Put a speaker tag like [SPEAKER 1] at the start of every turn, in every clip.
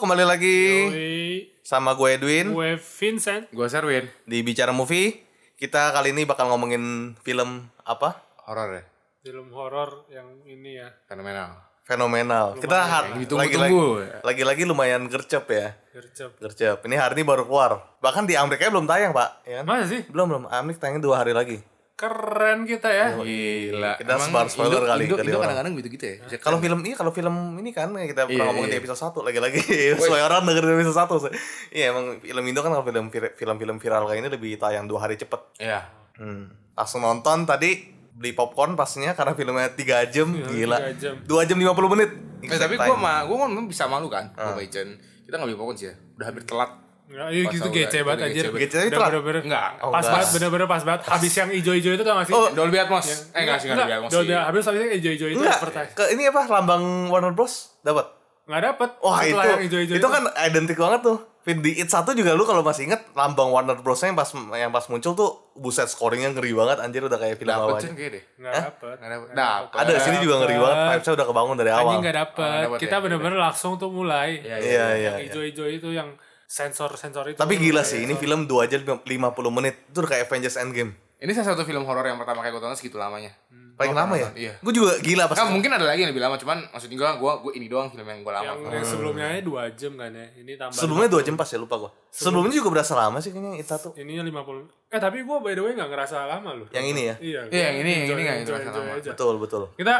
[SPEAKER 1] kembali lagi
[SPEAKER 2] Yoi.
[SPEAKER 1] sama gue Edwin
[SPEAKER 2] Gue Vincent.
[SPEAKER 3] Gue Serwin.
[SPEAKER 1] di Bicara Movie. Kita kali ini bakal ngomongin film apa?
[SPEAKER 3] Horor ya?
[SPEAKER 2] Film horor yang ini ya.
[SPEAKER 3] Fenomenal.
[SPEAKER 1] Fenomenal. Kita har-
[SPEAKER 3] Yang ditunggu-tunggu.
[SPEAKER 1] lagi lagi lumayan gercep ya.
[SPEAKER 2] Gercep.
[SPEAKER 1] Gercep. Ini hari ini baru keluar. Bahkan di Amerika belum tayang, Pak. Ya kan?
[SPEAKER 3] Masa sih?
[SPEAKER 1] Belum, belum. Amerika tayangnya dua hari lagi.
[SPEAKER 3] Keren kita ya. Gila.
[SPEAKER 1] Kita sebar spoiler
[SPEAKER 3] Indo-
[SPEAKER 1] kali
[SPEAKER 3] Indo,
[SPEAKER 1] kali
[SPEAKER 3] Indo
[SPEAKER 1] orang.
[SPEAKER 3] kadang-kadang gitu-gitu ya. Bisa-
[SPEAKER 1] Kalau film ini, kalau film ini kan yang kita pernah
[SPEAKER 3] Iya,
[SPEAKER 1] ngomongin di
[SPEAKER 3] iya.
[SPEAKER 1] episode 1 lagi-lagi. Semua orang dengerin episode 1. Iya, emang film Indo kan kalau film film-film viral kayak ini lebih tayang dua hari cepet.
[SPEAKER 3] Iya.
[SPEAKER 1] Hmm. Langsung nonton tadi beli popcorn pastinya karena filmnya 3 jam gila.
[SPEAKER 2] tiga jam.
[SPEAKER 1] 2 jam 50 menit.
[SPEAKER 3] Eh, tapi gue mah, gue kan bisa malu kan.
[SPEAKER 1] Ah.
[SPEAKER 3] Gue Ichen. Kita gak bisa fokus ya. Udah hampir telat.
[SPEAKER 2] Nah, iya
[SPEAKER 3] Pas
[SPEAKER 2] gitu
[SPEAKER 3] tahu
[SPEAKER 2] gece
[SPEAKER 3] kan,
[SPEAKER 2] banget
[SPEAKER 3] itu
[SPEAKER 2] anjir.
[SPEAKER 3] gece banget.
[SPEAKER 1] Gece itu
[SPEAKER 2] Udah
[SPEAKER 1] lah.
[SPEAKER 2] bener-bener
[SPEAKER 3] Enggak.
[SPEAKER 1] Oh,
[SPEAKER 2] pas
[SPEAKER 1] enggak.
[SPEAKER 2] banget, bener-bener pas banget. Habis yang ijo-ijo itu tau gak sih?
[SPEAKER 1] Oh,
[SPEAKER 3] Dolby Atmos. Eh enggak sih enggak Dolby Atmos.
[SPEAKER 2] Udah,
[SPEAKER 3] sih.
[SPEAKER 2] udah. habis habis yang ijo-ijo itu
[SPEAKER 1] enggak
[SPEAKER 2] advertise.
[SPEAKER 1] ke ini apa lambang Warner Bros dapat.
[SPEAKER 2] Enggak dapet.
[SPEAKER 1] Wah,
[SPEAKER 2] Setelah yang
[SPEAKER 1] itu
[SPEAKER 2] ijo-ijo
[SPEAKER 1] itu, kan identik banget tuh. Fit Di It 1 juga lu kalau masih inget lambang Warner Bros yang pas yang pas muncul tuh buset scoringnya ngeri banget anjir udah kayak film
[SPEAKER 3] Dapet
[SPEAKER 1] awal.
[SPEAKER 3] Chen kayaknya deh.
[SPEAKER 2] Enggak dapet.
[SPEAKER 3] Nggak dapet.
[SPEAKER 2] Nggak dapet.
[SPEAKER 3] Dapet.
[SPEAKER 1] Ada di sini juga ngeri banget. Vibes-nya udah kebangun dari awal.
[SPEAKER 2] Anjing enggak
[SPEAKER 3] Oh,
[SPEAKER 2] dapet.
[SPEAKER 3] nggak dapet
[SPEAKER 2] Kita
[SPEAKER 3] ya,
[SPEAKER 2] bener-bener langsung tuh mulai.
[SPEAKER 3] Iya, iya.
[SPEAKER 1] Iya, iya.
[SPEAKER 2] Yang
[SPEAKER 1] iya.
[SPEAKER 2] ijo-ijo itu yang sensor-sensor itu.
[SPEAKER 1] Tapi gila sih, ini film 2 jam 50 menit. Itu udah kayak Avengers Endgame.
[SPEAKER 3] Ini salah satu film horor yang pertama kayak gue tonton segitu lamanya.
[SPEAKER 1] Paling lama ya?
[SPEAKER 3] Iya.
[SPEAKER 1] Gue juga gila pas
[SPEAKER 3] Kan mungkin ada lagi yang lebih lama, cuman maksudnya gue, gue, gue ini doang film yang gue lama.
[SPEAKER 2] Yang yang sebelumnya aja 2 jam kan ya. Ini tambah
[SPEAKER 1] Sebelumnya dua jam pas ya lupa gua. Sebelumnya juga berasa lama sih kayaknya itu tuh.
[SPEAKER 2] Ininya 50. Eh tapi gue by the way gak ngerasa lama loh.
[SPEAKER 1] Yang ini ya.
[SPEAKER 2] Iya.
[SPEAKER 3] Iya, yang ini, yang
[SPEAKER 2] enjoy-
[SPEAKER 3] ini nggak
[SPEAKER 2] enjoy-
[SPEAKER 3] ngerasa
[SPEAKER 2] enjoy
[SPEAKER 3] lama.
[SPEAKER 2] aja.
[SPEAKER 1] Betul betul.
[SPEAKER 2] Kita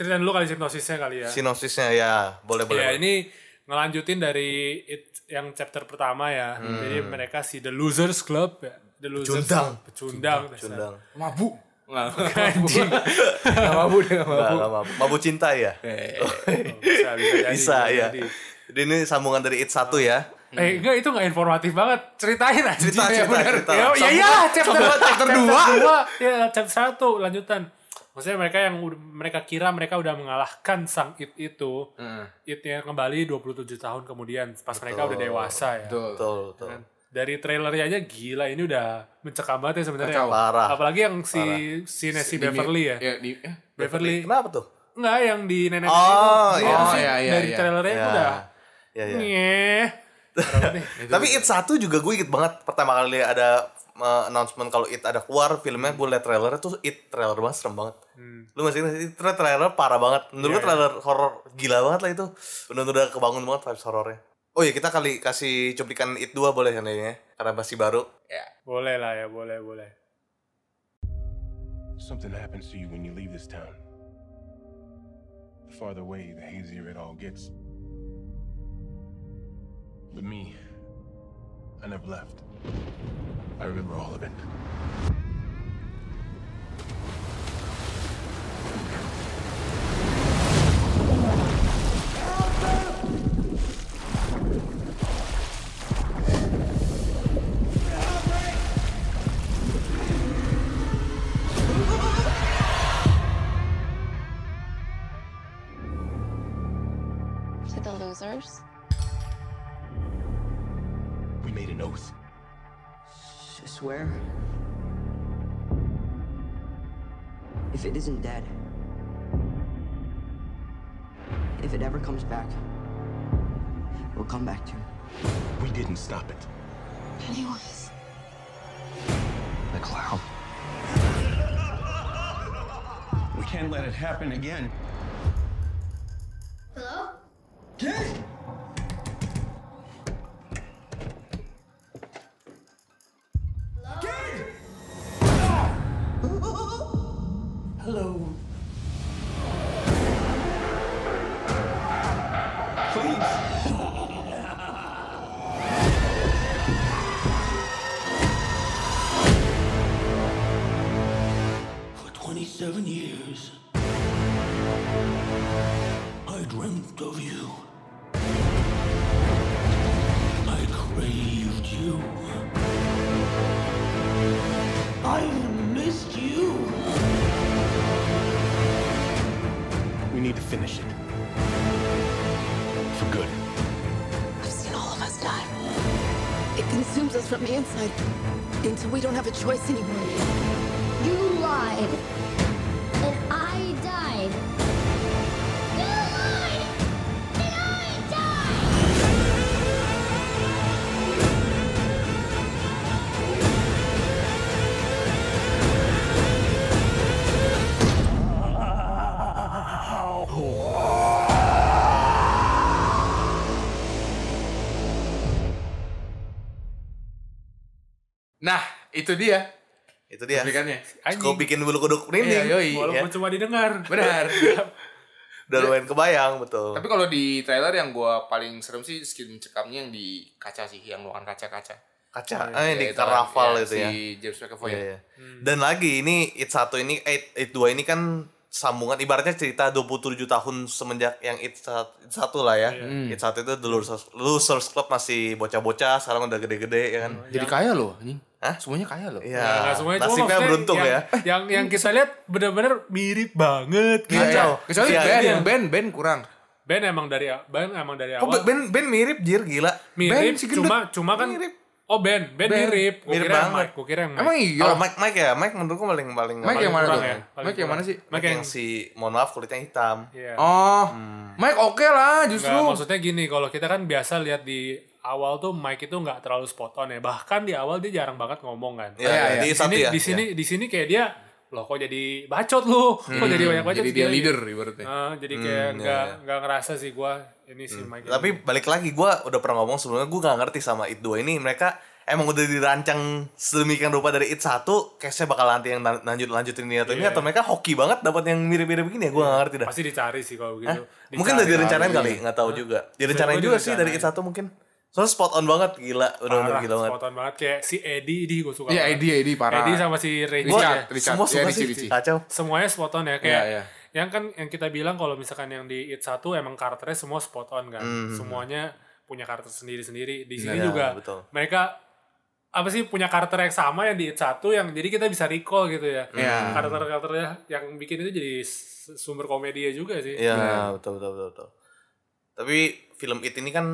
[SPEAKER 2] ceritain dulu kali sinopsisnya kali ya.
[SPEAKER 1] Sinopsisnya ya boleh boleh.
[SPEAKER 2] ya
[SPEAKER 1] boleh.
[SPEAKER 2] ini ngelanjutin dari it, yang chapter pertama ya. Jadi mereka si The Losers Club ya. The Losers
[SPEAKER 1] Hmm. Pecundang.
[SPEAKER 2] Club. Pecundang. Pecundang.
[SPEAKER 1] Cundang.
[SPEAKER 3] Mabuk. Nggak
[SPEAKER 2] Anjing.
[SPEAKER 3] Nggak mabuk dia nggak
[SPEAKER 1] Nggak,
[SPEAKER 3] mabuk.
[SPEAKER 1] nggak, mabuk. Mabuk cinta ya.
[SPEAKER 2] bisa, bisa, Eh, jadi,
[SPEAKER 1] Bisa ya.
[SPEAKER 2] jadi.
[SPEAKER 1] Jadi ini sambungan dari It 1 ya.
[SPEAKER 2] Eh enggak itu enggak informatif banget. Ceritain aja.
[SPEAKER 1] Cerita, cerita, cerita.
[SPEAKER 2] Ya, ya
[SPEAKER 1] Sambungan-
[SPEAKER 2] iyalah, chapter
[SPEAKER 1] sambungan chapter dua.
[SPEAKER 2] dua, ya chapter satu lanjutan. Maksudnya mereka yang ud- mereka kira mereka udah mengalahkan sang it itu.
[SPEAKER 3] Heeh.
[SPEAKER 2] Itnya kembali 27 tahun kemudian pas mereka udah dewasa ya.
[SPEAKER 3] Betul.
[SPEAKER 1] Betul betul.
[SPEAKER 2] Dari trailernya aja gila ini udah mencekam banget ya sebenarnya.
[SPEAKER 3] Kacau.
[SPEAKER 1] Parah.
[SPEAKER 2] Apalagi yang si si Nancy Beverly ya.
[SPEAKER 3] Iya, di eh,
[SPEAKER 2] Beverly.
[SPEAKER 1] Kenapa tuh?
[SPEAKER 2] Enggak yang di nenek
[SPEAKER 1] Oh,
[SPEAKER 2] itu.
[SPEAKER 1] iya.
[SPEAKER 2] Itu sih
[SPEAKER 3] Oh, iya, iya,
[SPEAKER 2] dari
[SPEAKER 3] iya.
[SPEAKER 2] trailernya itu udah
[SPEAKER 1] Ya ya.
[SPEAKER 2] nyeh.
[SPEAKER 1] Tapi It 1 juga gue inget banget pertama kali ada uh, announcement kalau It ada keluar filmnya gue liat trailernya tuh It trailer banget serem banget.
[SPEAKER 2] Hmm.
[SPEAKER 1] Lu masih ingat It trailer- trailer parah banget. Menurut gue trailer horor gila banget lah itu. Benar udah kebangun banget vibes horornya. Oh iya kita kali kasih cuplikan It 2 boleh kan ya? Karena masih baru.
[SPEAKER 3] ya.
[SPEAKER 2] Boleh lah ya, boleh, boleh.
[SPEAKER 4] Something happens to you when you leave this town. The farther away, the hazier it all gets. But me, I never left. I remember all of it.
[SPEAKER 5] To the losers.
[SPEAKER 4] We made an oath.
[SPEAKER 6] I swear. If it isn't dead, if it ever comes back, we'll come back to it.
[SPEAKER 4] We didn't stop it.
[SPEAKER 5] Pennywise.
[SPEAKER 4] The cloud.
[SPEAKER 7] We can't let it happen again. Hello? Hello. Please.
[SPEAKER 8] For 27 years, I dreamt of you. I craved you. I've missed you.
[SPEAKER 4] We need to finish it. For good.
[SPEAKER 5] I've seen all of us die. It consumes us from the inside until we don't have a choice anymore.
[SPEAKER 9] You lied. And I died. You lied! And I died!
[SPEAKER 3] Nah, itu dia.
[SPEAKER 1] Itu dia.
[SPEAKER 3] Cuplikannya.
[SPEAKER 1] Kau bikin bulu kuduk merinding.
[SPEAKER 3] Iya, yoi.
[SPEAKER 1] Ya,
[SPEAKER 2] Walaupun cuma didengar.
[SPEAKER 3] Benar.
[SPEAKER 1] Iya. Udah lumayan kebayang, betul.
[SPEAKER 3] Tapi kalau di trailer yang gua paling serem sih skin cekamnya yang di kaca sih, yang luangan kaca-kaca.
[SPEAKER 1] Kaca, eh, di
[SPEAKER 3] Ya, itu kan,
[SPEAKER 1] karnaval
[SPEAKER 3] ya,
[SPEAKER 1] itu ya.
[SPEAKER 3] Si Hmm. James McAvoy.
[SPEAKER 1] Iya, iya. Dan lagi ini It 1 ini eh, It 2 ini kan sambungan ibaratnya cerita 27 tahun semenjak yang It 1, It 1 lah ya. It
[SPEAKER 3] Iya.
[SPEAKER 1] 1 itu The Losers, Losers Club masih bocah-bocah, sekarang udah gede-gede ya kan.
[SPEAKER 3] Jadi kaya loh anjing.
[SPEAKER 1] Hah?
[SPEAKER 3] Semuanya kaya loh.
[SPEAKER 1] Iya.
[SPEAKER 2] Nah, nggak semuanya, cuma
[SPEAKER 1] Nasibnya
[SPEAKER 2] maksudnya
[SPEAKER 1] beruntung
[SPEAKER 2] yang,
[SPEAKER 1] ya.
[SPEAKER 2] Yang yang kita lihat benar-benar mirip banget
[SPEAKER 3] Iya,
[SPEAKER 2] gitu.
[SPEAKER 3] iya.
[SPEAKER 1] Kacau.
[SPEAKER 3] Kecuali
[SPEAKER 1] Iya,
[SPEAKER 3] band,
[SPEAKER 2] iya.
[SPEAKER 3] band, band kurang.
[SPEAKER 2] Ben emang dari Ben emang dari
[SPEAKER 1] Kok
[SPEAKER 2] awal
[SPEAKER 1] ben, ben mirip jir gila.
[SPEAKER 2] mirip
[SPEAKER 3] Oh, Ben si gendut.
[SPEAKER 2] cuma cuma kan
[SPEAKER 1] Mirip.
[SPEAKER 2] Oh Ben, Ben,
[SPEAKER 3] Ben.
[SPEAKER 2] mirip. Gua
[SPEAKER 1] Mirip
[SPEAKER 2] kira yang
[SPEAKER 1] banget.
[SPEAKER 2] Mike, gua kira yang Mike.
[SPEAKER 3] Emang iya.
[SPEAKER 1] Hmm. Kalau Mike Mike ya, Mike menurutku paling paling
[SPEAKER 3] Mike
[SPEAKER 1] paling
[SPEAKER 3] yang mana
[SPEAKER 1] kurang
[SPEAKER 3] tuh?
[SPEAKER 1] ya.
[SPEAKER 2] Paling
[SPEAKER 3] Mike yang
[SPEAKER 2] kurang.
[SPEAKER 3] mana sih?
[SPEAKER 1] Mike yang si mohon maaf kulitnya hitam.
[SPEAKER 2] Iya.
[SPEAKER 3] Oh,
[SPEAKER 1] Hmm.
[SPEAKER 3] Mike oke lah justru.
[SPEAKER 2] Nggak, maksudnya gini, kalau kita kan biasa lihat di awal tuh Mike itu nggak terlalu spot on ya. Bahkan di awal dia jarang banget ngomong kan.
[SPEAKER 1] Iya, iya,
[SPEAKER 3] Iya, iya. Hmm.
[SPEAKER 1] di
[SPEAKER 2] di
[SPEAKER 1] satu
[SPEAKER 2] sini,
[SPEAKER 1] ya.
[SPEAKER 2] di sini, di sini kayak dia loh kok jadi bacot lu, kok jadi banyak bacot.
[SPEAKER 3] Jadi dia
[SPEAKER 2] segini?"
[SPEAKER 3] leader ibaratnya.
[SPEAKER 2] Ah, jadi
[SPEAKER 1] Hmm,
[SPEAKER 2] kayak nggak nggak ngerasa sih gua ini si
[SPEAKER 1] ya,
[SPEAKER 2] Mike.
[SPEAKER 1] Iya. Tapi balik lagi gue udah pernah ngomong sebelumnya gue nggak ngerti sama It 2 ini mereka emang udah dirancang sedemikian rupa dari It 1 case-nya bakal nanti yang lan- lanjut lanjutin ini atau ini atau mereka hoki banget dapat yang mirip-mirip begini ya gue nggak ngerti dah.
[SPEAKER 2] Iya. pasti dicari sih
[SPEAKER 1] Hah?
[SPEAKER 2] kalau begitu.
[SPEAKER 1] Eh, Mungkin udah
[SPEAKER 2] gitu. Dicari.
[SPEAKER 1] direncanain kali ya. nggak tahu juga. Direncanain
[SPEAKER 2] Menurut
[SPEAKER 1] juga
[SPEAKER 2] gua
[SPEAKER 1] sih dari It
[SPEAKER 2] direncanain.
[SPEAKER 1] 1 mungkin. Soalnya spot on banget gila benar-benar gila
[SPEAKER 2] Parah,
[SPEAKER 1] gitu banget.
[SPEAKER 2] spot on banget kayak si Eddie di gue suka.
[SPEAKER 3] Iya,
[SPEAKER 2] banget.
[SPEAKER 3] Eddie, Eddie parah.
[SPEAKER 2] Eddie sama si Reggie
[SPEAKER 3] Richard,
[SPEAKER 2] ya.
[SPEAKER 3] Richard.
[SPEAKER 1] Semua
[SPEAKER 3] Iya,
[SPEAKER 1] suka
[SPEAKER 3] Richie,
[SPEAKER 1] sih
[SPEAKER 3] Richie.
[SPEAKER 1] kacau.
[SPEAKER 2] semuanya spot on ya kayak
[SPEAKER 3] Iya, iya.
[SPEAKER 2] yang kan yang kita bilang kalau misalkan yang di It 1 emang karakternya semua spot on kan.
[SPEAKER 1] Hmm,
[SPEAKER 2] Semuanya punya karakter sendiri-sendiri. Di sini
[SPEAKER 1] Iya,
[SPEAKER 2] juga
[SPEAKER 1] betul.
[SPEAKER 2] mereka apa sih punya karakter yang sama yang di It 1 yang jadi kita bisa recall gitu ya.
[SPEAKER 3] Iya.
[SPEAKER 2] Karakter-karakternya yang bikin itu jadi s- sumber komedi juga sih.
[SPEAKER 1] Iya, betul, betul betul betul. Tapi film It ini kan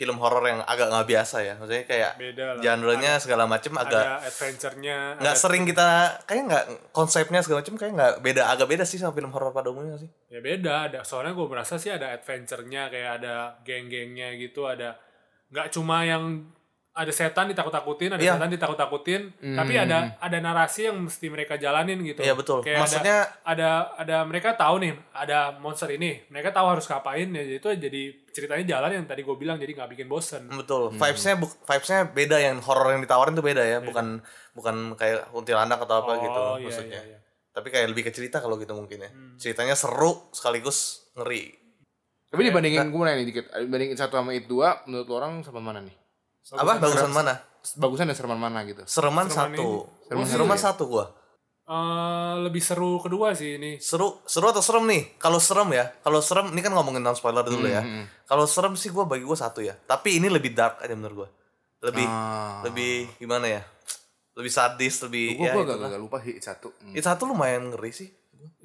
[SPEAKER 1] film horor yang agak nggak biasa ya. Maksudnya kayak
[SPEAKER 2] Beda lah.
[SPEAKER 1] genre-nya segala macem agak
[SPEAKER 2] Ada adventure-nya,
[SPEAKER 1] nggak
[SPEAKER 2] ada-
[SPEAKER 1] sering kita kayak nggak konsepnya segala macam kayak nggak beda agak beda sih sama film horor pada umumnya nggak sih
[SPEAKER 2] ya beda ada soalnya gue merasa sih ada adventure-nya kayak ada geng-gengnya gitu ada nggak cuma yang ada setan ditakut-takutin ada
[SPEAKER 1] Iya. Hmm.
[SPEAKER 2] setan ditakut-takutin tapi ada ada narasi yang mesti mereka jalanin gitu
[SPEAKER 1] Iya, betul.
[SPEAKER 2] Kayak ada-
[SPEAKER 1] Maksudnya-
[SPEAKER 2] ada, ada mereka tahu nih ada monster ini mereka tahu harus ngapain ya itu jadi ceritanya jalan yang tadi gue bilang jadi nggak bikin bosen
[SPEAKER 1] betul vibesnya bu- vibesnya beda yang horor yang ditawarin tuh beda ya bukan bukan kayak kuntilanak atau apa
[SPEAKER 2] Oh,
[SPEAKER 1] gitu
[SPEAKER 2] iya,
[SPEAKER 1] maksudnya
[SPEAKER 2] iya, iya.
[SPEAKER 1] tapi kayak lebih ke cerita kalau gitu mungkin ya ceritanya seru sekaligus ngeri
[SPEAKER 3] Tapi dibandingin gue nanya nih dikit, Ah, dibandingin satu sama itu dua, menurut lo orang sama mana nih?
[SPEAKER 1] apa bagusan mana
[SPEAKER 3] Bagusan dan sereman mana gitu?
[SPEAKER 1] sereman, satu sereman, satu gua
[SPEAKER 2] Eh, lebih seru kedua sih ini
[SPEAKER 1] seru seru atau serem nih kalau serem ya kalau serem ini kan ngomongin non spoiler dulu ya
[SPEAKER 3] Hmm.
[SPEAKER 1] kalau serem sih gua bagi gua satu ya tapi ini lebih dark aja menurut gua lebih
[SPEAKER 3] Ah.
[SPEAKER 1] lebih gimana ya lebih sadis lebih
[SPEAKER 3] Gue
[SPEAKER 1] ya
[SPEAKER 3] gue
[SPEAKER 1] itu
[SPEAKER 3] agak agak lupa sih satu. Hmm.
[SPEAKER 1] satu lumayan ngeri sih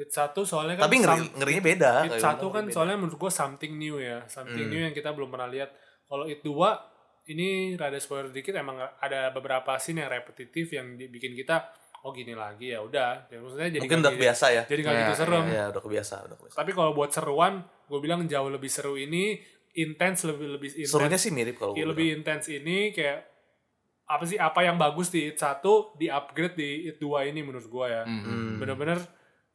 [SPEAKER 2] It satu soalnya kan
[SPEAKER 1] tapi ngeri ngerinya beda Hmm.
[SPEAKER 2] It
[SPEAKER 1] Kayak
[SPEAKER 2] satu
[SPEAKER 1] gitu.
[SPEAKER 2] kan soalnya menurut gue something new ya, something new yang kita belum pernah lihat. Kalau It dua ini rada spoiler dikit emang ada beberapa scene yang repetitif yang di- bikin kita oh gini lagi ya udah. Ya, maksudnya jadi
[SPEAKER 1] mungkin
[SPEAKER 2] nggak
[SPEAKER 1] udah
[SPEAKER 2] jadi-
[SPEAKER 1] biasa ya
[SPEAKER 2] Jadi nggak gitu serem.
[SPEAKER 1] ya udah kebiasa udah kebiasa
[SPEAKER 2] Tapi kalau buat seruan, gue bilang jauh lebih seru ini, intens lebih lebih intens.
[SPEAKER 1] serunya sih mirip kalau
[SPEAKER 2] Iya,
[SPEAKER 1] gua
[SPEAKER 2] lebih intens ini kayak apa sih apa yang bagus di it 1 di upgrade di it 2 ini menurut gua ya.
[SPEAKER 1] Hmm.
[SPEAKER 2] Bener-bener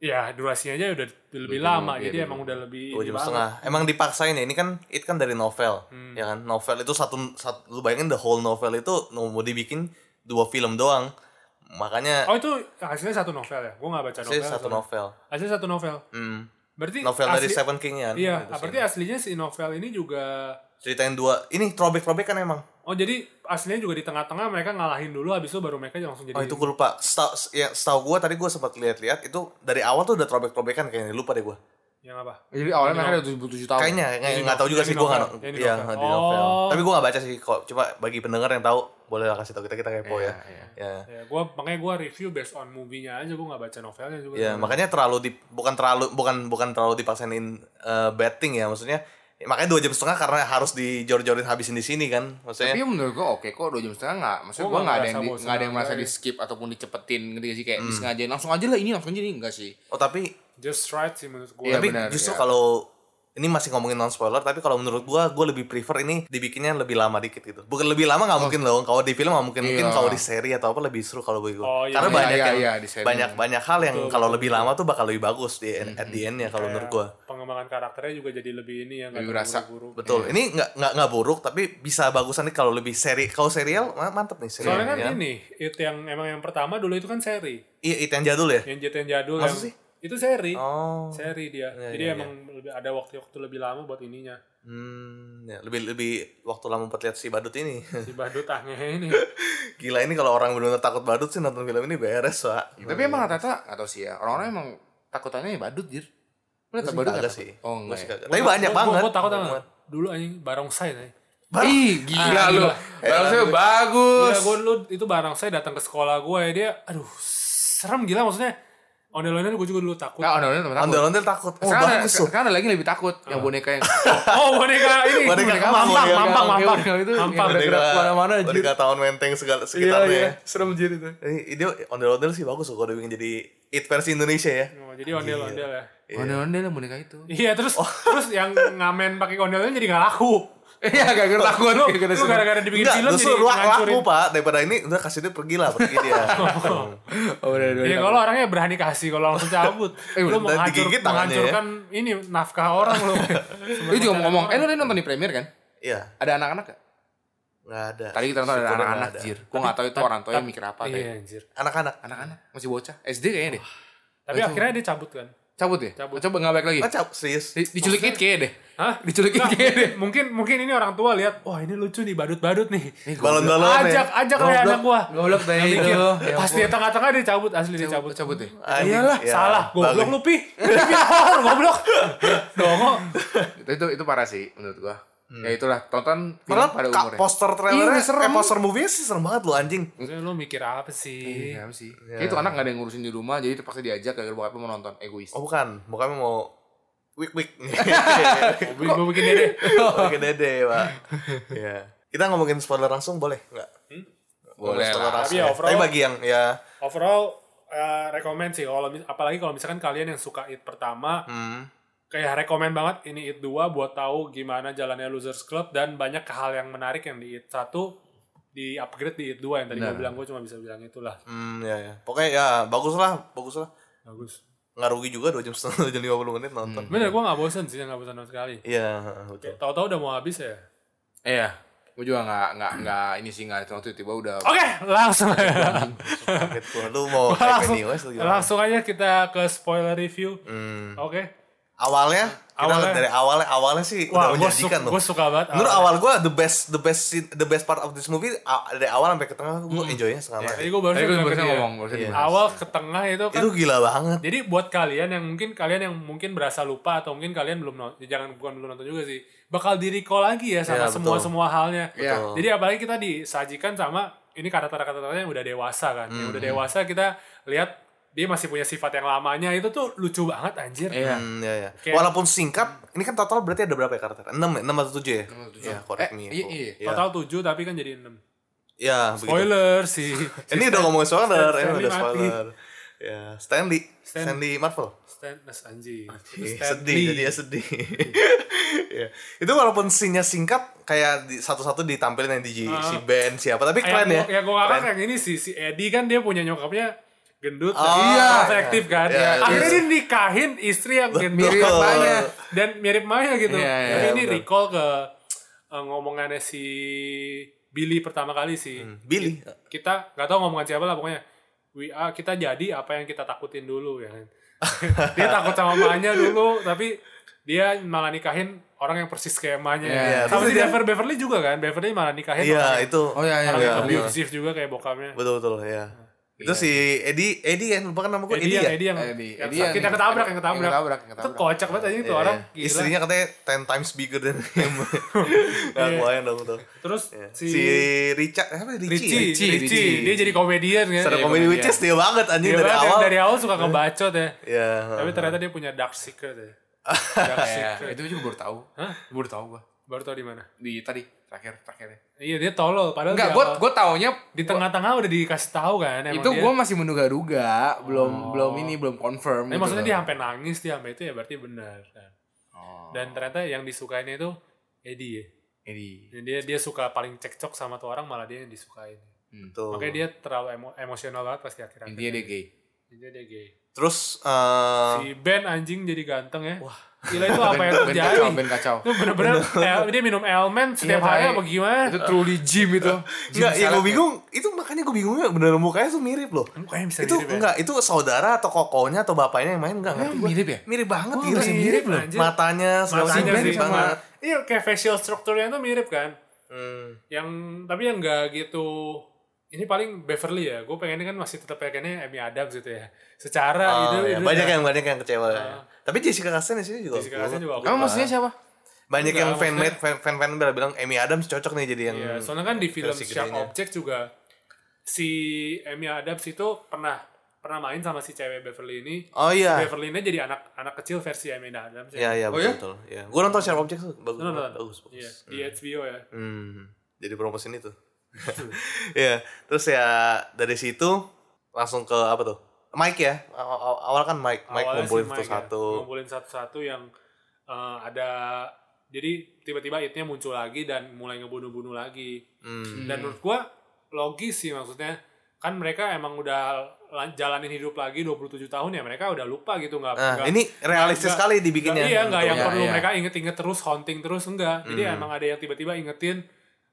[SPEAKER 2] ya durasinya aja udah lebih lama jadi emang udah lebih
[SPEAKER 1] dua
[SPEAKER 2] ini
[SPEAKER 1] jam
[SPEAKER 2] banget. Hmm.
[SPEAKER 1] setengah emang dipaksain ya ini kan it kan dari novel ya kan novel itu satu, satu lu bayangin the whole novel itu mau dibikin dua film doang makanya
[SPEAKER 2] Oh itu hasilnya satu novel ya? Gue gak baca novel.
[SPEAKER 1] sih satu
[SPEAKER 2] soalnya.
[SPEAKER 1] novel
[SPEAKER 2] Hasilnya satu novel.
[SPEAKER 1] Hmm.
[SPEAKER 2] Berarti
[SPEAKER 1] novel dari
[SPEAKER 2] asli-
[SPEAKER 1] Seven King ya
[SPEAKER 2] Iya,
[SPEAKER 1] gitu sih.
[SPEAKER 2] berarti aslinya si novel ini juga
[SPEAKER 1] ceritain dua ini throwback throwback kan emang
[SPEAKER 2] Oh jadi aslinya juga di tengah-tengah mereka ngalahin dulu habis itu baru mereka langsung jadi
[SPEAKER 1] oh itu gue lupa Setau, ya setahu gue tadi gue sempat lihat-lihat itu dari awal tuh udah throwback throwback kan kayaknya lupa deh gue
[SPEAKER 2] yang apa?
[SPEAKER 3] Jadi awalnya mereka ada 77 tahun.
[SPEAKER 1] kayaknya nggak nggak tahu juga
[SPEAKER 2] yang
[SPEAKER 1] sih
[SPEAKER 2] di
[SPEAKER 1] gue
[SPEAKER 2] novel,
[SPEAKER 1] nggak
[SPEAKER 2] yang di
[SPEAKER 1] ya
[SPEAKER 2] novel.
[SPEAKER 1] di novel
[SPEAKER 2] Oh.
[SPEAKER 1] tapi gue nggak baca sih kok cuma bagi pendengar yang tahu boleh lah kasih tau kita kita
[SPEAKER 3] Oh,
[SPEAKER 1] kepo ya ya
[SPEAKER 2] Ya, gua makanya gua review based on movie-nya aja gua nggak baca novelnya juga.
[SPEAKER 1] ya makanya terlalu di bukan terlalu bukan bukan terlalu dipaksainin eh, betting ya maksudnya makanya dua jam setengah karena harus dijor-jorin habisin di sini kan maksudnya
[SPEAKER 3] Tapi menurut gue oke kok dua jam setengah nggak. Maksudnya
[SPEAKER 2] Gua
[SPEAKER 3] gue
[SPEAKER 2] nggak merasa
[SPEAKER 3] nggak ada yang di,
[SPEAKER 2] bosan
[SPEAKER 3] nggak ada yang merasa
[SPEAKER 2] sama
[SPEAKER 3] di skip ataupun dicepetin gitu sih
[SPEAKER 1] Hmm.
[SPEAKER 3] kayak disengajain langsung aja lah ini langsung aja ini enggak sih.
[SPEAKER 1] oh tapi
[SPEAKER 2] Just right sih menurut gua.
[SPEAKER 3] Iya,
[SPEAKER 1] tapi
[SPEAKER 3] benar,
[SPEAKER 1] justru
[SPEAKER 3] iya.
[SPEAKER 1] kalau ini masih ngomongin non spoiler tapi kalau menurut gua gua lebih prefer ini dibikinnya lebih lama dikit gitu bukan lebih lama nggak mungkin loh kalau di film nggak mungkin mungkin
[SPEAKER 3] Oh. Iya.
[SPEAKER 1] kalau di seri atau apa lebih seru kalau bagi gua
[SPEAKER 2] Oh, iya.
[SPEAKER 1] karena
[SPEAKER 3] Iya,
[SPEAKER 1] banyak
[SPEAKER 3] iya,
[SPEAKER 1] yang
[SPEAKER 3] iya, di seri.
[SPEAKER 2] Iya.
[SPEAKER 1] banyak banyak hal yang kalau lebih lama tuh bakal lebih bagus di at the endnya kalau menurut gua
[SPEAKER 2] Pengembangan perkembangan karakternya juga jadi lebih ini ya nggak
[SPEAKER 3] Lebih
[SPEAKER 2] terlalu
[SPEAKER 3] berasa. Iya.
[SPEAKER 2] buru-buru.
[SPEAKER 1] Betul. Ini nggak nggak nggak buruk tapi bisa bagusan nih kalau lebih seri. Kalau serial ma- mantep nih serial.
[SPEAKER 2] Soalnya kan
[SPEAKER 1] ya.
[SPEAKER 2] ini, itu yang emang yang pertama dulu itu kan seri,
[SPEAKER 1] Iya, itu yang jadul ya.
[SPEAKER 2] yang jet yang jadul
[SPEAKER 1] Maksud
[SPEAKER 2] yang
[SPEAKER 1] sih?
[SPEAKER 2] itu seri,
[SPEAKER 1] Oh.
[SPEAKER 2] seri dia.
[SPEAKER 1] Iya,
[SPEAKER 2] jadi
[SPEAKER 1] iya,
[SPEAKER 2] emang lebih ada waktu-waktu lebih lama buat ininya.
[SPEAKER 1] Hmm, ya, lebih lebih waktu lama buat lihat si badut ini.
[SPEAKER 2] Si badut aneh ini.
[SPEAKER 1] Gila ini kalau orang benar-benar takut badut sih nonton film ini beres, Pak.
[SPEAKER 2] Iya.
[SPEAKER 3] Tapi emang rata-rata atau sih ya. Orang-orang emang takutannya ya badut, jir.
[SPEAKER 1] Gua
[SPEAKER 3] Lu liat
[SPEAKER 1] sih
[SPEAKER 3] badut
[SPEAKER 1] kagak
[SPEAKER 3] nggak
[SPEAKER 1] sih.
[SPEAKER 3] takut? Oh,
[SPEAKER 1] Gua
[SPEAKER 3] enggak.
[SPEAKER 1] sih
[SPEAKER 3] ya?
[SPEAKER 1] kagak. Tapi banyak banget.
[SPEAKER 2] Gue takut
[SPEAKER 1] Banyak
[SPEAKER 2] sama
[SPEAKER 1] banget.
[SPEAKER 2] dulu anjing barongsai nih.
[SPEAKER 3] Ih, gila lu.
[SPEAKER 1] Eh,
[SPEAKER 3] Balasnya bagus.
[SPEAKER 2] Ah, Gila gue Iya, dulu itu barongsai datang ke sekolah gue dia, aduh serem gila maksudnya. Ondel-ondel gue juga dulu takut.
[SPEAKER 1] Ah,
[SPEAKER 3] Nah, ondel-ondel teman takut.
[SPEAKER 1] Ondel-ondel takut. Oh,
[SPEAKER 3] Sekarang, ada-
[SPEAKER 1] bagus tuh.
[SPEAKER 3] sekarang ada lagi yang lebih takut. Yang
[SPEAKER 2] Ah.
[SPEAKER 3] boneka yang...
[SPEAKER 2] Oh boneka ini.
[SPEAKER 1] Boneka iya kemang, boneka
[SPEAKER 2] mampang,
[SPEAKER 3] kemang.
[SPEAKER 2] mampang,
[SPEAKER 3] Boneka itu yang
[SPEAKER 2] mampang.
[SPEAKER 3] bergerak
[SPEAKER 1] Boneka-
[SPEAKER 3] kemana-mana, anjir.
[SPEAKER 1] Boneka tahun menteng segala
[SPEAKER 3] Iya,
[SPEAKER 1] sekitarnya.
[SPEAKER 3] iya.
[SPEAKER 1] ya.
[SPEAKER 3] Serem jir itu.
[SPEAKER 1] Ini dia ondel-ondel sih bagus loh kalau dibikin jadi it versi Indonesia ya.
[SPEAKER 2] Oh, jadi ondel-ondel ya.
[SPEAKER 3] Ondel-ondel yang boneka itu.
[SPEAKER 2] Iya terus
[SPEAKER 1] Oh.
[SPEAKER 2] terus yang ngamen pakai ondelnya jadi nggak laku.
[SPEAKER 3] Iya, gak kira
[SPEAKER 1] kan?
[SPEAKER 3] takut.
[SPEAKER 2] Lu,
[SPEAKER 3] Kayak kena
[SPEAKER 2] lu
[SPEAKER 3] serem.
[SPEAKER 2] gara-gara dibikin
[SPEAKER 1] Enggak,
[SPEAKER 2] film
[SPEAKER 1] gitu justru
[SPEAKER 2] jadi
[SPEAKER 1] luak
[SPEAKER 2] ngancurin.
[SPEAKER 1] laku pak daripada ini udah kasih dia pergi lah pergi dia.
[SPEAKER 3] Oh, bener-bener.
[SPEAKER 2] Ya kalau orangnya berani kasih, kalau langsung cabut, lu
[SPEAKER 1] udah
[SPEAKER 2] menghancur,
[SPEAKER 1] digigit tangannya ya.
[SPEAKER 2] menghancurkan ini nafkah orang lu.
[SPEAKER 3] Lu juga mau ngomong, eh lu tadi nonton di premier kan?
[SPEAKER 1] Iya
[SPEAKER 3] Ada anak-anak gak?
[SPEAKER 1] nggak ada.
[SPEAKER 3] Tadi kita nonton ada
[SPEAKER 1] Syukurnya
[SPEAKER 3] anak-anak,
[SPEAKER 1] nggak ada.
[SPEAKER 3] jir. Gue gak tau itu orang tuanya mikir apa kayak.
[SPEAKER 2] Iya anjir.
[SPEAKER 1] Anak-anak.
[SPEAKER 3] Anak-anak, masih bocah. SD kayaknya deh.
[SPEAKER 2] Tapi akhirnya dia cabut kan?
[SPEAKER 3] Cabut ya?
[SPEAKER 2] Cabut. Nah.
[SPEAKER 3] Coba gak balik lagi?
[SPEAKER 1] Ah, cap serius.
[SPEAKER 3] Di- Diculik it kayaknya deh.
[SPEAKER 2] Hah?
[SPEAKER 3] Diculik it
[SPEAKER 2] Nggak,
[SPEAKER 3] kayaknya deh.
[SPEAKER 2] mungkin mungkin ini orang tua lihat, wah ini lucu nih badut-badut nih.
[SPEAKER 1] Balon-balon
[SPEAKER 2] ajak ajak lah ya anak gua.
[SPEAKER 3] Goblok tadi
[SPEAKER 2] Mikir,
[SPEAKER 3] itu. Ya
[SPEAKER 2] Pas dia tengah-tengah dia cabut, asli dia cabut. Ah,
[SPEAKER 3] Cabut, cabut ya. deh.
[SPEAKER 2] Iyalah, salah. Goblok lu pi. Lu pi horor, goblok. Dongo.
[SPEAKER 3] itu itu, itu parah sih menurut gua
[SPEAKER 1] Hmm.
[SPEAKER 3] ya itulah tonton film
[SPEAKER 1] Malah
[SPEAKER 3] pada
[SPEAKER 1] ka-
[SPEAKER 3] umurnya
[SPEAKER 1] poster trailernya, eh poster movie sih serem banget lu anjing.
[SPEAKER 2] Maksudnya lu mikir apa sih?
[SPEAKER 3] iya apa sih Kayaknya itu anak gak ada yang ngurusin di rumah jadi terpaksa diajak gara-gara bokapnya mau nonton egois
[SPEAKER 1] Oh bukan, bukannya mau wik wik.
[SPEAKER 2] Gue bikin dia deh.
[SPEAKER 1] Oke dede pak. Iya. Kita ngomongin spoiler langsung boleh nggak?
[SPEAKER 3] Boleh
[SPEAKER 1] Spoiler
[SPEAKER 3] lah.
[SPEAKER 1] langsung
[SPEAKER 2] Tapi ya,
[SPEAKER 1] ya.
[SPEAKER 2] overall-
[SPEAKER 1] Tapi bagi yang ya
[SPEAKER 2] overall eh rekomend sih kalau mis- apalagi kalau misalkan kalian yang suka It pertama
[SPEAKER 1] hmm,
[SPEAKER 2] kayak rekomend banget ini It 2 buat tahu gimana jalannya Losers Club dan banyak hal yang menarik yang di It 1 di upgrade di It 2 yang tadi gue bilang gue cuma bisa bilang itulah
[SPEAKER 1] hmm, ya ya. Pokoknya ya bagus lah, bagus lah.
[SPEAKER 2] bagus
[SPEAKER 1] Nggak rugi juga 2 jam setengah, 2 jam 50 menit nonton.
[SPEAKER 2] bener gue gak bosen sih gak bosen sama sekali
[SPEAKER 1] Iya, betul.
[SPEAKER 2] Kayak tahu-tahu udah mau habis ya
[SPEAKER 3] iya gua juga gak gak gak ini sih gak waktu tiba udah
[SPEAKER 1] Oh,
[SPEAKER 2] oke langsung
[SPEAKER 1] Kaget gua. Lu mau hype
[SPEAKER 2] langsung,
[SPEAKER 1] anyways atau gimana?
[SPEAKER 2] langsung aja kita ke spoiler review
[SPEAKER 1] Hmm.
[SPEAKER 2] oke
[SPEAKER 1] Awalnya kita
[SPEAKER 2] Awalnya-
[SPEAKER 1] lihat dari awalnya awalnya sih
[SPEAKER 2] wah
[SPEAKER 1] udah
[SPEAKER 2] gue
[SPEAKER 1] menjanjikan loh.
[SPEAKER 2] suka banget Ah.
[SPEAKER 1] Menurut awal gua the best the best scene- the best part of this movie a- dari awal sampai ke tengah gua
[SPEAKER 2] Hmm.
[SPEAKER 1] enjoynya setengah mati.
[SPEAKER 2] tadi gue baru
[SPEAKER 3] tadi gua barusan ngomong
[SPEAKER 2] ngomong
[SPEAKER 3] barusan
[SPEAKER 1] Iya.
[SPEAKER 3] dibahas.
[SPEAKER 2] awal ke tengah itu kan
[SPEAKER 1] Itu gila banget.
[SPEAKER 2] Jadi buat kalian yang mungkin kalian yang mungkin berasa lupa atau mungkin kalian belum nonton, ya jangan bukan belum nonton juga sih, bakal di recall lagi ya sama
[SPEAKER 1] Iya,
[SPEAKER 2] semua
[SPEAKER 1] betul.
[SPEAKER 2] semua halnya.
[SPEAKER 3] Iya.
[SPEAKER 1] Betul.
[SPEAKER 2] Jadi apalagi kita disajikan sama ini karakter-karakternya yang udah dewasa kan,
[SPEAKER 1] Hmm,
[SPEAKER 2] yang udah dewasa kita lihat dia masih punya sifat yang lamanya itu tuh lucu banget anjir.
[SPEAKER 3] iya
[SPEAKER 1] Hmm, ya, ya.
[SPEAKER 2] Kayak-
[SPEAKER 1] Walaupun singkat, ini kan total berarti ada berapa ya karakter? 6 ya? 6 atau 7 ya?
[SPEAKER 3] atau tujuh.
[SPEAKER 1] Ya, correct
[SPEAKER 3] Eh,
[SPEAKER 1] me.
[SPEAKER 3] iya,
[SPEAKER 1] Bu.
[SPEAKER 3] iya.
[SPEAKER 1] Ya.
[SPEAKER 2] Total 7 tapi kan jadi 6.
[SPEAKER 1] Ya, begitu.
[SPEAKER 2] Spoiler sih.
[SPEAKER 1] Ini udah ngomongin spoiler,
[SPEAKER 2] Stan-
[SPEAKER 1] ini
[SPEAKER 2] Stanley
[SPEAKER 1] udah
[SPEAKER 2] mati.
[SPEAKER 1] spoiler. Ya, Stanley.
[SPEAKER 2] Stan-
[SPEAKER 1] Stanley Marvel.
[SPEAKER 2] Stanless anjing. Itu
[SPEAKER 1] Ih,
[SPEAKER 2] Stan
[SPEAKER 1] sedih,
[SPEAKER 2] Lee.
[SPEAKER 1] jadi ya sedih. ya. Itu walaupun scene-nya singkat, kayak di- satu-satu ditampilin yang di si Ben siapa, tapi
[SPEAKER 2] Kayak
[SPEAKER 1] keren ya.
[SPEAKER 2] gua- Ya gue
[SPEAKER 1] Keren.
[SPEAKER 2] ngakak yang ini sih, si Eddie kan dia punya nyokapnya gendut
[SPEAKER 1] Oh,
[SPEAKER 2] dan
[SPEAKER 1] iya.
[SPEAKER 2] atraktif kan.
[SPEAKER 1] Iya, iya.
[SPEAKER 2] Akhirnya dia nikahin istri yang gendut.
[SPEAKER 1] Mirip Maya.
[SPEAKER 2] Dan mirip Maya gitu.
[SPEAKER 3] Iya, iya,
[SPEAKER 2] Tapi ini
[SPEAKER 1] betul.
[SPEAKER 2] recall ke eh, ngomongannya si Billy pertama kali sih.
[SPEAKER 1] Hmm, Billy.
[SPEAKER 2] Kita nggak tahu ngomongan siapa lah pokoknya. We are- kita jadi apa yang kita takutin dulu ya kan. dia takut sama emaknya dulu tapi dia malah nikahin orang yang persis kayak emaknya.
[SPEAKER 1] Iya,
[SPEAKER 2] Sama
[SPEAKER 1] terus
[SPEAKER 2] si
[SPEAKER 1] dia-
[SPEAKER 2] Beverly, Beverly juga kan. Beverly malah nikahin
[SPEAKER 1] Iya,
[SPEAKER 2] orang yang-
[SPEAKER 1] itu.
[SPEAKER 3] oh iya iya
[SPEAKER 2] Orang
[SPEAKER 3] iya
[SPEAKER 2] yang abusive juga kayak bokapnya.
[SPEAKER 1] Betul betul ya. Itu si Eddie, Eddie kan lupa kan nama gue Eddie,
[SPEAKER 2] Eddie, yang,
[SPEAKER 1] ya.
[SPEAKER 2] Eddie yang,
[SPEAKER 3] Eddie,
[SPEAKER 2] yang
[SPEAKER 3] Eddie
[SPEAKER 2] sakit,
[SPEAKER 3] yang-
[SPEAKER 2] yang ketabrak, yang
[SPEAKER 3] Eh, yang
[SPEAKER 2] ketabrak.
[SPEAKER 3] ketabrak, yang ketabrak.
[SPEAKER 2] Itu kocak banget aja itu
[SPEAKER 1] Iya,
[SPEAKER 2] Gitu, orang.
[SPEAKER 1] iya.
[SPEAKER 2] Gila.
[SPEAKER 1] Istrinya katanya 10 times bigger than him. Gak kebayang dong tuh.
[SPEAKER 2] Terus Iya. si,
[SPEAKER 1] Si, Richard, eh, apa Richie?
[SPEAKER 2] Richie,
[SPEAKER 1] Richie.
[SPEAKER 2] Richie,
[SPEAKER 3] Iya. Richie.
[SPEAKER 2] dia jadi komedian kan.
[SPEAKER 1] Stand
[SPEAKER 2] Iya,
[SPEAKER 1] up comedy
[SPEAKER 2] komedian.
[SPEAKER 1] which is dia banget anjing
[SPEAKER 2] Dia
[SPEAKER 1] dari
[SPEAKER 2] banget yang
[SPEAKER 1] awal.
[SPEAKER 2] dari awal suka ngebacot ya.
[SPEAKER 1] Iya.
[SPEAKER 2] Tapi ternyata dia punya dark secret ya. Dark
[SPEAKER 3] Iya,
[SPEAKER 2] secret.
[SPEAKER 3] itu juga baru tahu
[SPEAKER 2] Hah?
[SPEAKER 3] baru tahu gua
[SPEAKER 2] Baru tau di mana.
[SPEAKER 3] di tadi terakhir terakhirnya
[SPEAKER 2] Iya, dia tolol padahal
[SPEAKER 3] enggak
[SPEAKER 2] di
[SPEAKER 3] gua
[SPEAKER 2] awal-
[SPEAKER 3] gua taunya
[SPEAKER 2] di tengah-tengah udah dikasih tahu kan emang
[SPEAKER 3] itu
[SPEAKER 2] dia.
[SPEAKER 3] gua masih menduga-duga belum belum ini belum confirm
[SPEAKER 2] Tapi
[SPEAKER 3] gitu
[SPEAKER 2] eh, maksudnya
[SPEAKER 3] loh.
[SPEAKER 2] dia sampai nangis dia sampai itu ya berarti benar. kan.
[SPEAKER 3] Oh.
[SPEAKER 2] Dan ternyata yang disukainya itu Eddie ya.
[SPEAKER 3] jadi
[SPEAKER 2] Dan dia dia suka paling cekcok sama tuh orang malah dia yang disukain.
[SPEAKER 1] Tuh.
[SPEAKER 2] Makanya dia terlalu emo- emosional banget pasti akhir-akhir.
[SPEAKER 3] intinya dia gay
[SPEAKER 2] Intinya dia gay.
[SPEAKER 1] Terus eh
[SPEAKER 2] Si Ben anjing jadi ganteng ya. Wah. Gila itu apa yang
[SPEAKER 3] Ben
[SPEAKER 2] terjadi?
[SPEAKER 3] kacau, Ben kacau.
[SPEAKER 2] Itu bener-bener El- dia minum elemen setiap
[SPEAKER 3] Iya,
[SPEAKER 2] hari
[SPEAKER 3] Tai.
[SPEAKER 2] apa gimana?
[SPEAKER 3] Itu truly gym itu. Gym
[SPEAKER 1] Enggak, yang
[SPEAKER 3] salad.
[SPEAKER 2] ya?
[SPEAKER 1] gue bingung itu makanya gue bingungnya bener mukanya tuh mirip loh.
[SPEAKER 2] Mukanya bisa
[SPEAKER 1] itu
[SPEAKER 2] mirip ya?
[SPEAKER 1] enggak, itu saudara atau kokonya atau bapaknya yang main enggak ngerti
[SPEAKER 3] Emang
[SPEAKER 1] gua.
[SPEAKER 3] mirip ya?
[SPEAKER 1] Mirip banget
[SPEAKER 2] Wah,
[SPEAKER 1] gila
[SPEAKER 2] mirip,
[SPEAKER 1] mirip loh.
[SPEAKER 2] anjir.
[SPEAKER 1] Matanya segala macam
[SPEAKER 2] Matanya
[SPEAKER 1] mirip
[SPEAKER 2] sih sama
[SPEAKER 1] banget.
[SPEAKER 2] iya kayak facial strukturnya tuh mirip kan.
[SPEAKER 1] Hmm.
[SPEAKER 2] Yang tapi yang enggak gitu ini paling Beverly ya. Gue pengennya kan masih tetap pengennya Amy Adams gitu ya. Secara
[SPEAKER 1] Oh,
[SPEAKER 2] itu,
[SPEAKER 1] iya.
[SPEAKER 2] itu
[SPEAKER 1] banyak
[SPEAKER 2] udah-
[SPEAKER 1] yang banyak yang kecewa. Tapi Jessica Chastain di sini juga.
[SPEAKER 2] gitu
[SPEAKER 1] oke.
[SPEAKER 2] ya. Ah. Jessica Chastain juga oke.
[SPEAKER 3] Emang maksudnya siapa?
[SPEAKER 1] Banyak
[SPEAKER 2] Enggak,
[SPEAKER 1] yang fan
[SPEAKER 2] maksudnya-
[SPEAKER 1] fan fan fan bilang bilang Amy Adams cocok nih jadi yang
[SPEAKER 2] Iya, soalnya kan di film
[SPEAKER 1] versi
[SPEAKER 2] Sharp
[SPEAKER 1] Hmm, gedenya.
[SPEAKER 2] Object juga si Amy Adams itu pernah pernah main sama si cewek Beverly ini.
[SPEAKER 1] Oh iya.
[SPEAKER 2] Beverly ini jadi anak anak kecil versi Amy Adams.
[SPEAKER 1] Iya
[SPEAKER 2] ya.
[SPEAKER 1] iya
[SPEAKER 3] Oh,
[SPEAKER 1] betul.
[SPEAKER 3] iya?
[SPEAKER 1] betul. Iya. Gua nonton Sharp Objects tuh bagus.
[SPEAKER 2] Lu nonton?
[SPEAKER 1] banget, Bagus. bagus.
[SPEAKER 2] Iya, di HBO ya.
[SPEAKER 1] Hmm, jadi promosiin itu. Iya, terus ya dari situ langsung ke apa tuh? Mike ya. Aw- aw- Awal kan Mike, Mike
[SPEAKER 2] Awalnya si
[SPEAKER 1] ngumpulin
[SPEAKER 2] Mike ya,
[SPEAKER 1] satu-satu.
[SPEAKER 2] ngumpulin satu-satu yang eh, ada jadi tiba-tiba itnya muncul lagi dan mulai ngebunuh-bunuh lagi.
[SPEAKER 1] Hmm.
[SPEAKER 2] Dan menurut gua logis sih maksudnya kan mereka emang udah la- jalanin hidup lagi 27 tahun ya mereka udah lupa gitu nggak
[SPEAKER 1] Nah,
[SPEAKER 2] nggak-
[SPEAKER 1] ini realistis
[SPEAKER 2] nggak-
[SPEAKER 1] sekali dibikinnya.
[SPEAKER 2] nggak- iya nggak yang
[SPEAKER 1] Betul.
[SPEAKER 2] perlu
[SPEAKER 3] iya.
[SPEAKER 2] mereka inget-inget terus haunting terus enggak jadi
[SPEAKER 1] Hmm.
[SPEAKER 2] emang ada yang tiba-tiba ingetin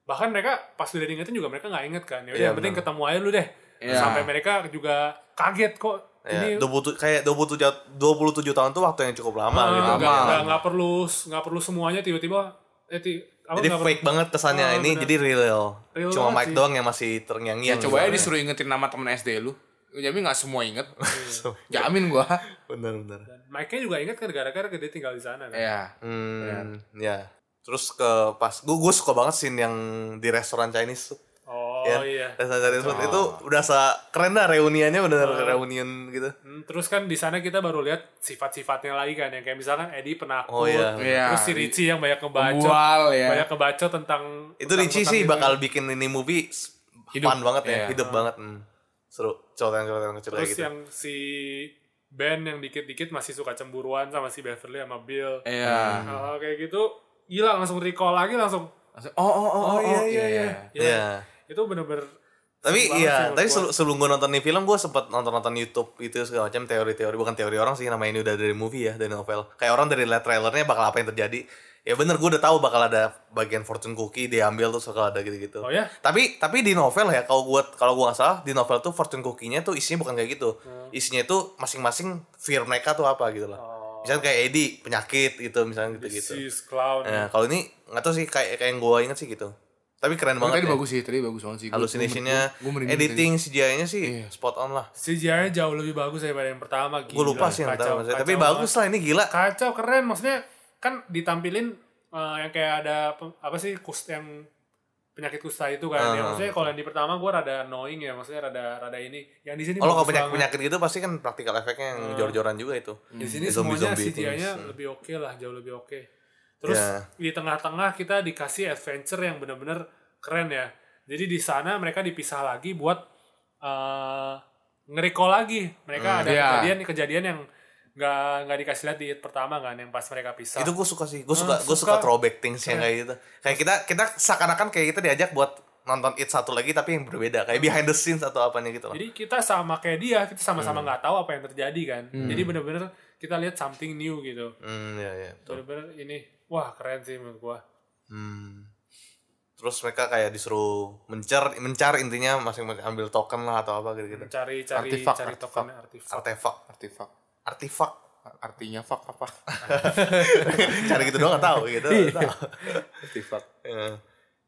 [SPEAKER 2] bahkan mereka pas udah diingetin juga mereka nggak inget kan ya
[SPEAKER 1] Iya,
[SPEAKER 2] yang penting
[SPEAKER 1] benar.
[SPEAKER 2] ketemu aja lu deh
[SPEAKER 3] Iya.
[SPEAKER 2] sampai mereka juga kaget kok ini
[SPEAKER 1] Ya, 27 kayak 27 27 tahun tuh waktu yang cukup lama
[SPEAKER 2] Ah,
[SPEAKER 1] gitu.
[SPEAKER 2] nggak-
[SPEAKER 3] Lama.
[SPEAKER 2] nggak- nggak perlu nggak perlu semuanya tiba-tiba eh, ti- apa,
[SPEAKER 1] Jadi
[SPEAKER 2] nggak perlu-
[SPEAKER 1] fake banget kesannya
[SPEAKER 2] Ah,
[SPEAKER 1] ini
[SPEAKER 2] benar.
[SPEAKER 1] jadi real.
[SPEAKER 2] Real
[SPEAKER 1] Cuma
[SPEAKER 2] banget
[SPEAKER 1] Mike
[SPEAKER 2] sih.
[SPEAKER 1] doang yang masih terngiang-ngiang.
[SPEAKER 3] Ya coba ya
[SPEAKER 1] gitu.
[SPEAKER 3] disuruh ingetin nama temen SD lu. Jamin gak semua inget. Jamin gua.
[SPEAKER 1] Bener bener.
[SPEAKER 2] Mike-nya juga inget kan gara-gara dia tinggal di sana kan
[SPEAKER 3] Iya.
[SPEAKER 1] Hmm, ya. Terus ke pas gue gue suka banget scene yang di restoran Chinese tuh.
[SPEAKER 2] oh
[SPEAKER 1] ya.
[SPEAKER 2] iya
[SPEAKER 1] Restoran Chinese food itu udah se keren dah reuniannya bener reunion gitu.
[SPEAKER 2] Hmm, terus kan di sana kita baru lihat sifat-sifatnya lagi kan yang kayak misalkan Eddie penakut
[SPEAKER 1] Oh, iya.
[SPEAKER 3] Iya.
[SPEAKER 2] terus si Richie yang banyak ngebacot
[SPEAKER 3] Pembual ya.
[SPEAKER 2] banyak ngebacot tentang
[SPEAKER 1] Itu
[SPEAKER 2] tentang-
[SPEAKER 1] Richie
[SPEAKER 2] tentang
[SPEAKER 1] sih
[SPEAKER 2] itu.
[SPEAKER 1] bakal bikin ini movie s-
[SPEAKER 3] Hidup.
[SPEAKER 1] fun banget ya,
[SPEAKER 3] Iya.
[SPEAKER 1] hidup banget. Hmm. Seru, coretan-coretan kecil kayak
[SPEAKER 2] terus
[SPEAKER 1] gitu.
[SPEAKER 2] yang si Ben yang dikit-dikit masih suka cemburuan sama si Beverly sama Bill
[SPEAKER 1] Eh.
[SPEAKER 3] Iya.
[SPEAKER 2] Hal-hal kayak gitu gila langsung recall lagi langsung
[SPEAKER 3] Langsung, Oh, oh, oh, oh, iya, iya,
[SPEAKER 2] Gila.
[SPEAKER 1] Iya.
[SPEAKER 2] itu bener-bener
[SPEAKER 1] Tapi
[SPEAKER 2] seru banget sih
[SPEAKER 1] iya,
[SPEAKER 2] menurut
[SPEAKER 1] tapi
[SPEAKER 2] gua.
[SPEAKER 1] sebelum, sebelum gue nonton nih film, gue sempet nonton-nonton YouTube itu segala macam teori-teori, bukan teori orang sih, nama ini udah dari movie ya, dari novel. Kayak orang dari liat trailernya bakal apa yang terjadi. Ya bener, gue udah tahu bakal ada bagian fortune cookie diambil terus bakal ada gitu-gitu.
[SPEAKER 2] Oh ya?
[SPEAKER 1] Tapi tapi di novel ya, kalau gue kalau gua nggak salah, di novel tuh fortune cookie-nya tuh isinya bukan kayak gitu.
[SPEAKER 2] Hmm.
[SPEAKER 1] Isinya itu masing-masing fear mereka tuh apa gitu lah.
[SPEAKER 2] Oh.
[SPEAKER 1] Misalnya kayak Eddie penyakit gitu, misalnya gitu-gitu.
[SPEAKER 2] Sis clown
[SPEAKER 1] Nah, kalau ini nggak tahu sih kayak kayak yang gue inget sih gitu. Tapi keren
[SPEAKER 3] Tapi
[SPEAKER 1] banget.
[SPEAKER 3] Tadi
[SPEAKER 1] ya
[SPEAKER 3] bagus sih, tadi bagus banget sih. Gua-
[SPEAKER 1] halusinasinya
[SPEAKER 3] gua- gua merinding
[SPEAKER 1] editing CGI-nya sih
[SPEAKER 2] Iya.
[SPEAKER 1] spot on lah
[SPEAKER 2] CGI-nya jauh lebih bagus daripada yang pertama
[SPEAKER 1] gue lupa sih yang pertama maksudnya. tapi bagus lah ini gila
[SPEAKER 2] kacau keren maksudnya kan ditampilin eh, yang kayak ada pe- apa sih kus yang penyakit kusta itu kan ya
[SPEAKER 1] Ah.
[SPEAKER 2] maksudnya kalau yang di pertama gue rada annoying ya maksudnya rada rada ini yang di sini
[SPEAKER 1] kalau kalau penyakit
[SPEAKER 2] bagus banget. Hmm.
[SPEAKER 1] penyakit gitu pasti kan praktikal efeknya yang jor-joran juga itu
[SPEAKER 2] di sini
[SPEAKER 1] Kayak
[SPEAKER 2] semuanya
[SPEAKER 1] zombie-zombie itu.
[SPEAKER 2] CGI-nya
[SPEAKER 1] Hmm.
[SPEAKER 2] lebih oke lah jauh lebih oke terus
[SPEAKER 1] Ya.
[SPEAKER 2] di tengah-tengah kita dikasih adventure yang bener-bener keren ya jadi di sana mereka dipisah lagi buat eh ngeriko lagi
[SPEAKER 1] Hmm.
[SPEAKER 2] mereka
[SPEAKER 1] Ya.
[SPEAKER 2] ada
[SPEAKER 3] Iya.
[SPEAKER 2] kejadian-kejadian yang nggak nggak dikasih lihat di It pertama kan yang pas mereka pisah
[SPEAKER 1] itu gue suka sih gue suka gue suka
[SPEAKER 2] suka.
[SPEAKER 1] throwback things yang kayak gitu kayak kita kita seakan-akan kayak kita diajak buat nonton it satu lagi tapi yang berbeda kayak behind the scenes atau apanya gitu lah
[SPEAKER 2] Hmm. Jadi kita sama kayak dia, kita sama-sama
[SPEAKER 1] Hmm.
[SPEAKER 2] nggak tahu apa yang terjadi kan. Jadi bener-bener kita lihat something new gitu.
[SPEAKER 1] hmm ya ya
[SPEAKER 2] Bener-bener ini, wah keren sih menurut gua.
[SPEAKER 1] hmm. terus mereka kayak disuruh mencar mencar intinya masing-masing ambil token lah atau apa gitu gitu
[SPEAKER 2] Cari cari
[SPEAKER 3] Artifak,
[SPEAKER 2] cari
[SPEAKER 3] artifak.
[SPEAKER 2] token artifak.
[SPEAKER 1] artefak
[SPEAKER 3] Artifak.
[SPEAKER 1] artifak
[SPEAKER 3] Artinya fuck apa?
[SPEAKER 1] cari gitu doang gak tahu gitu
[SPEAKER 2] Iya.
[SPEAKER 1] nggak tahu.
[SPEAKER 3] Artifak.
[SPEAKER 1] Iya.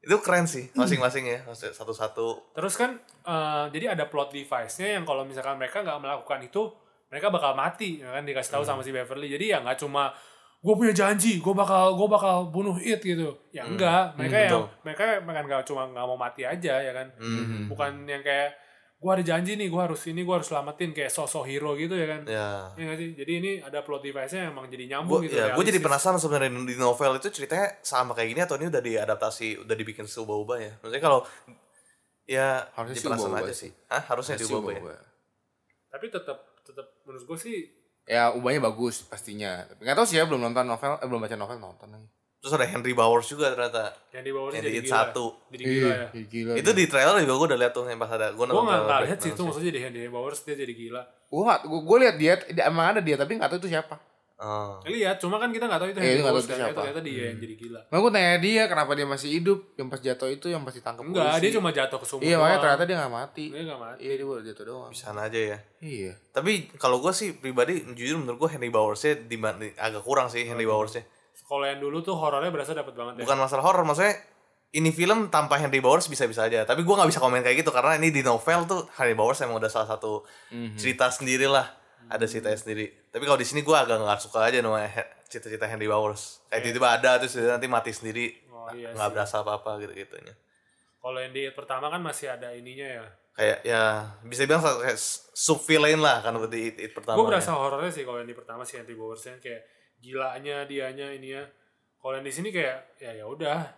[SPEAKER 1] itu keren sih masing-masing ya Maksudnya satu-satu
[SPEAKER 2] Terus kan eh, jadi ada plot device-nya yang kalau misalkan mereka nggak melakukan itu, mereka bakal mati ya kan dikasih tahu
[SPEAKER 1] Hmm.
[SPEAKER 2] sama si Beverly. Jadi ya nggak cuma gue punya janji, gue bakal gue bakal bunuh it gitu. Ya enggak, mereka
[SPEAKER 1] Hmm,
[SPEAKER 2] ya
[SPEAKER 1] betul.
[SPEAKER 2] mereka mereka nggak cuma nggak mau mati aja ya kan.
[SPEAKER 1] Hmm.
[SPEAKER 2] Bukan yang kayak gue ada janji nih, gue harus ini, gue harus selamatin kayak sosok hero gitu ya kan.
[SPEAKER 1] ya
[SPEAKER 2] Iya nggak sih? Jadi ini ada plot device-nya yang emang jadi nyambung
[SPEAKER 1] gue
[SPEAKER 2] gitu.
[SPEAKER 1] ya, gue jadi
[SPEAKER 2] realistis.
[SPEAKER 1] penasaran sebenarnya di novel itu ceritanya sama kayak gini atau ini udah diadaptasi udah dibikin seubah-ubah ya maksudnya kalau ya
[SPEAKER 3] Harusnya sih
[SPEAKER 1] dipenasaran
[SPEAKER 3] ubah-ubah
[SPEAKER 1] aja
[SPEAKER 3] sih.
[SPEAKER 1] sih Hah? harusnya diubah-ubah ya
[SPEAKER 2] Tapi tetap tetap menurut gue sih
[SPEAKER 3] Ya, ubahnya bagus pastinya. Tapi nggak tahu sih ya belum nonton novel, eh, belum baca novel nonton lagi.
[SPEAKER 1] terus ada Henry Bowers juga ternyata
[SPEAKER 2] yang di bawahnya
[SPEAKER 1] Yang di
[SPEAKER 2] jadi
[SPEAKER 1] It
[SPEAKER 2] gila.
[SPEAKER 1] satu.
[SPEAKER 2] Jadi gila ya.
[SPEAKER 3] Ih, gila.
[SPEAKER 1] itu di trailer juga gue udah lihat tuh yang pas ada gue
[SPEAKER 2] Gue nggak nggak lihat sih itu maksudnya jadi Andy Bowers dia jadi gila.
[SPEAKER 3] gua nggak- gua, gua lihat dia, dia- emang ada dia tapi nggak tahu itu siapa.
[SPEAKER 1] Oh.
[SPEAKER 2] Lihat, cuma kan kita nggak tahu itu
[SPEAKER 3] Iya,
[SPEAKER 2] Henry
[SPEAKER 3] itu nggak tahu
[SPEAKER 2] Wills
[SPEAKER 3] itu
[SPEAKER 2] kan.
[SPEAKER 3] siapa.
[SPEAKER 2] Ya, Ternyata dia yang jadi gila.
[SPEAKER 3] Nah, gue tanya dia kenapa dia masih hidup, yang pas jatuh itu yang pasti tangkap
[SPEAKER 2] Enggak, dia cuma jatuh ke sumur.
[SPEAKER 3] Iya, makanya
[SPEAKER 2] doang.
[SPEAKER 3] ternyata dia nggak mati.
[SPEAKER 2] Dia nggak mati.
[SPEAKER 3] Iya, dia baru jatuh doang.
[SPEAKER 1] Di sana aja ya.
[SPEAKER 3] Iya.
[SPEAKER 1] Tapi kalau gue sih pribadi jujur menurut gue Henry Bowersnya dibanding agak kurang sih Henry Bowersnya.
[SPEAKER 2] Kalau yang dulu tuh horornya berasa dapat banget ya.
[SPEAKER 1] Bukan masalah horor maksudnya ini film tanpa Henry Bowers bisa-bisa aja. Tapi gue nggak bisa komen kayak gitu karena ini di novel tuh Henry Bowers emang udah salah satu
[SPEAKER 2] Mhm.
[SPEAKER 1] cerita sendiri lah. Ada ceritanya sendiri. Tapi kalau di sini gue agak nggak suka aja sama he- cerita-cerita Henry Bowers. Kayak tiba-tiba ada terus dia nanti mati sendiri.
[SPEAKER 2] Oh, iya
[SPEAKER 1] nggak
[SPEAKER 2] sih.
[SPEAKER 1] berasa apa-apa gitu gitu-gitunya.
[SPEAKER 2] Kalau yang di pertama kan masih ada ininya ya.
[SPEAKER 1] Kayak ya bisa bilang kayak sub villain lah kan berarti it, It pertama.
[SPEAKER 2] Gue
[SPEAKER 1] ya.
[SPEAKER 2] berasa horornya sih kalau yang di pertama si Henry Bowersnya kayak gilanya dianya ininya. Kalau yang di sini kayak ya ya udah.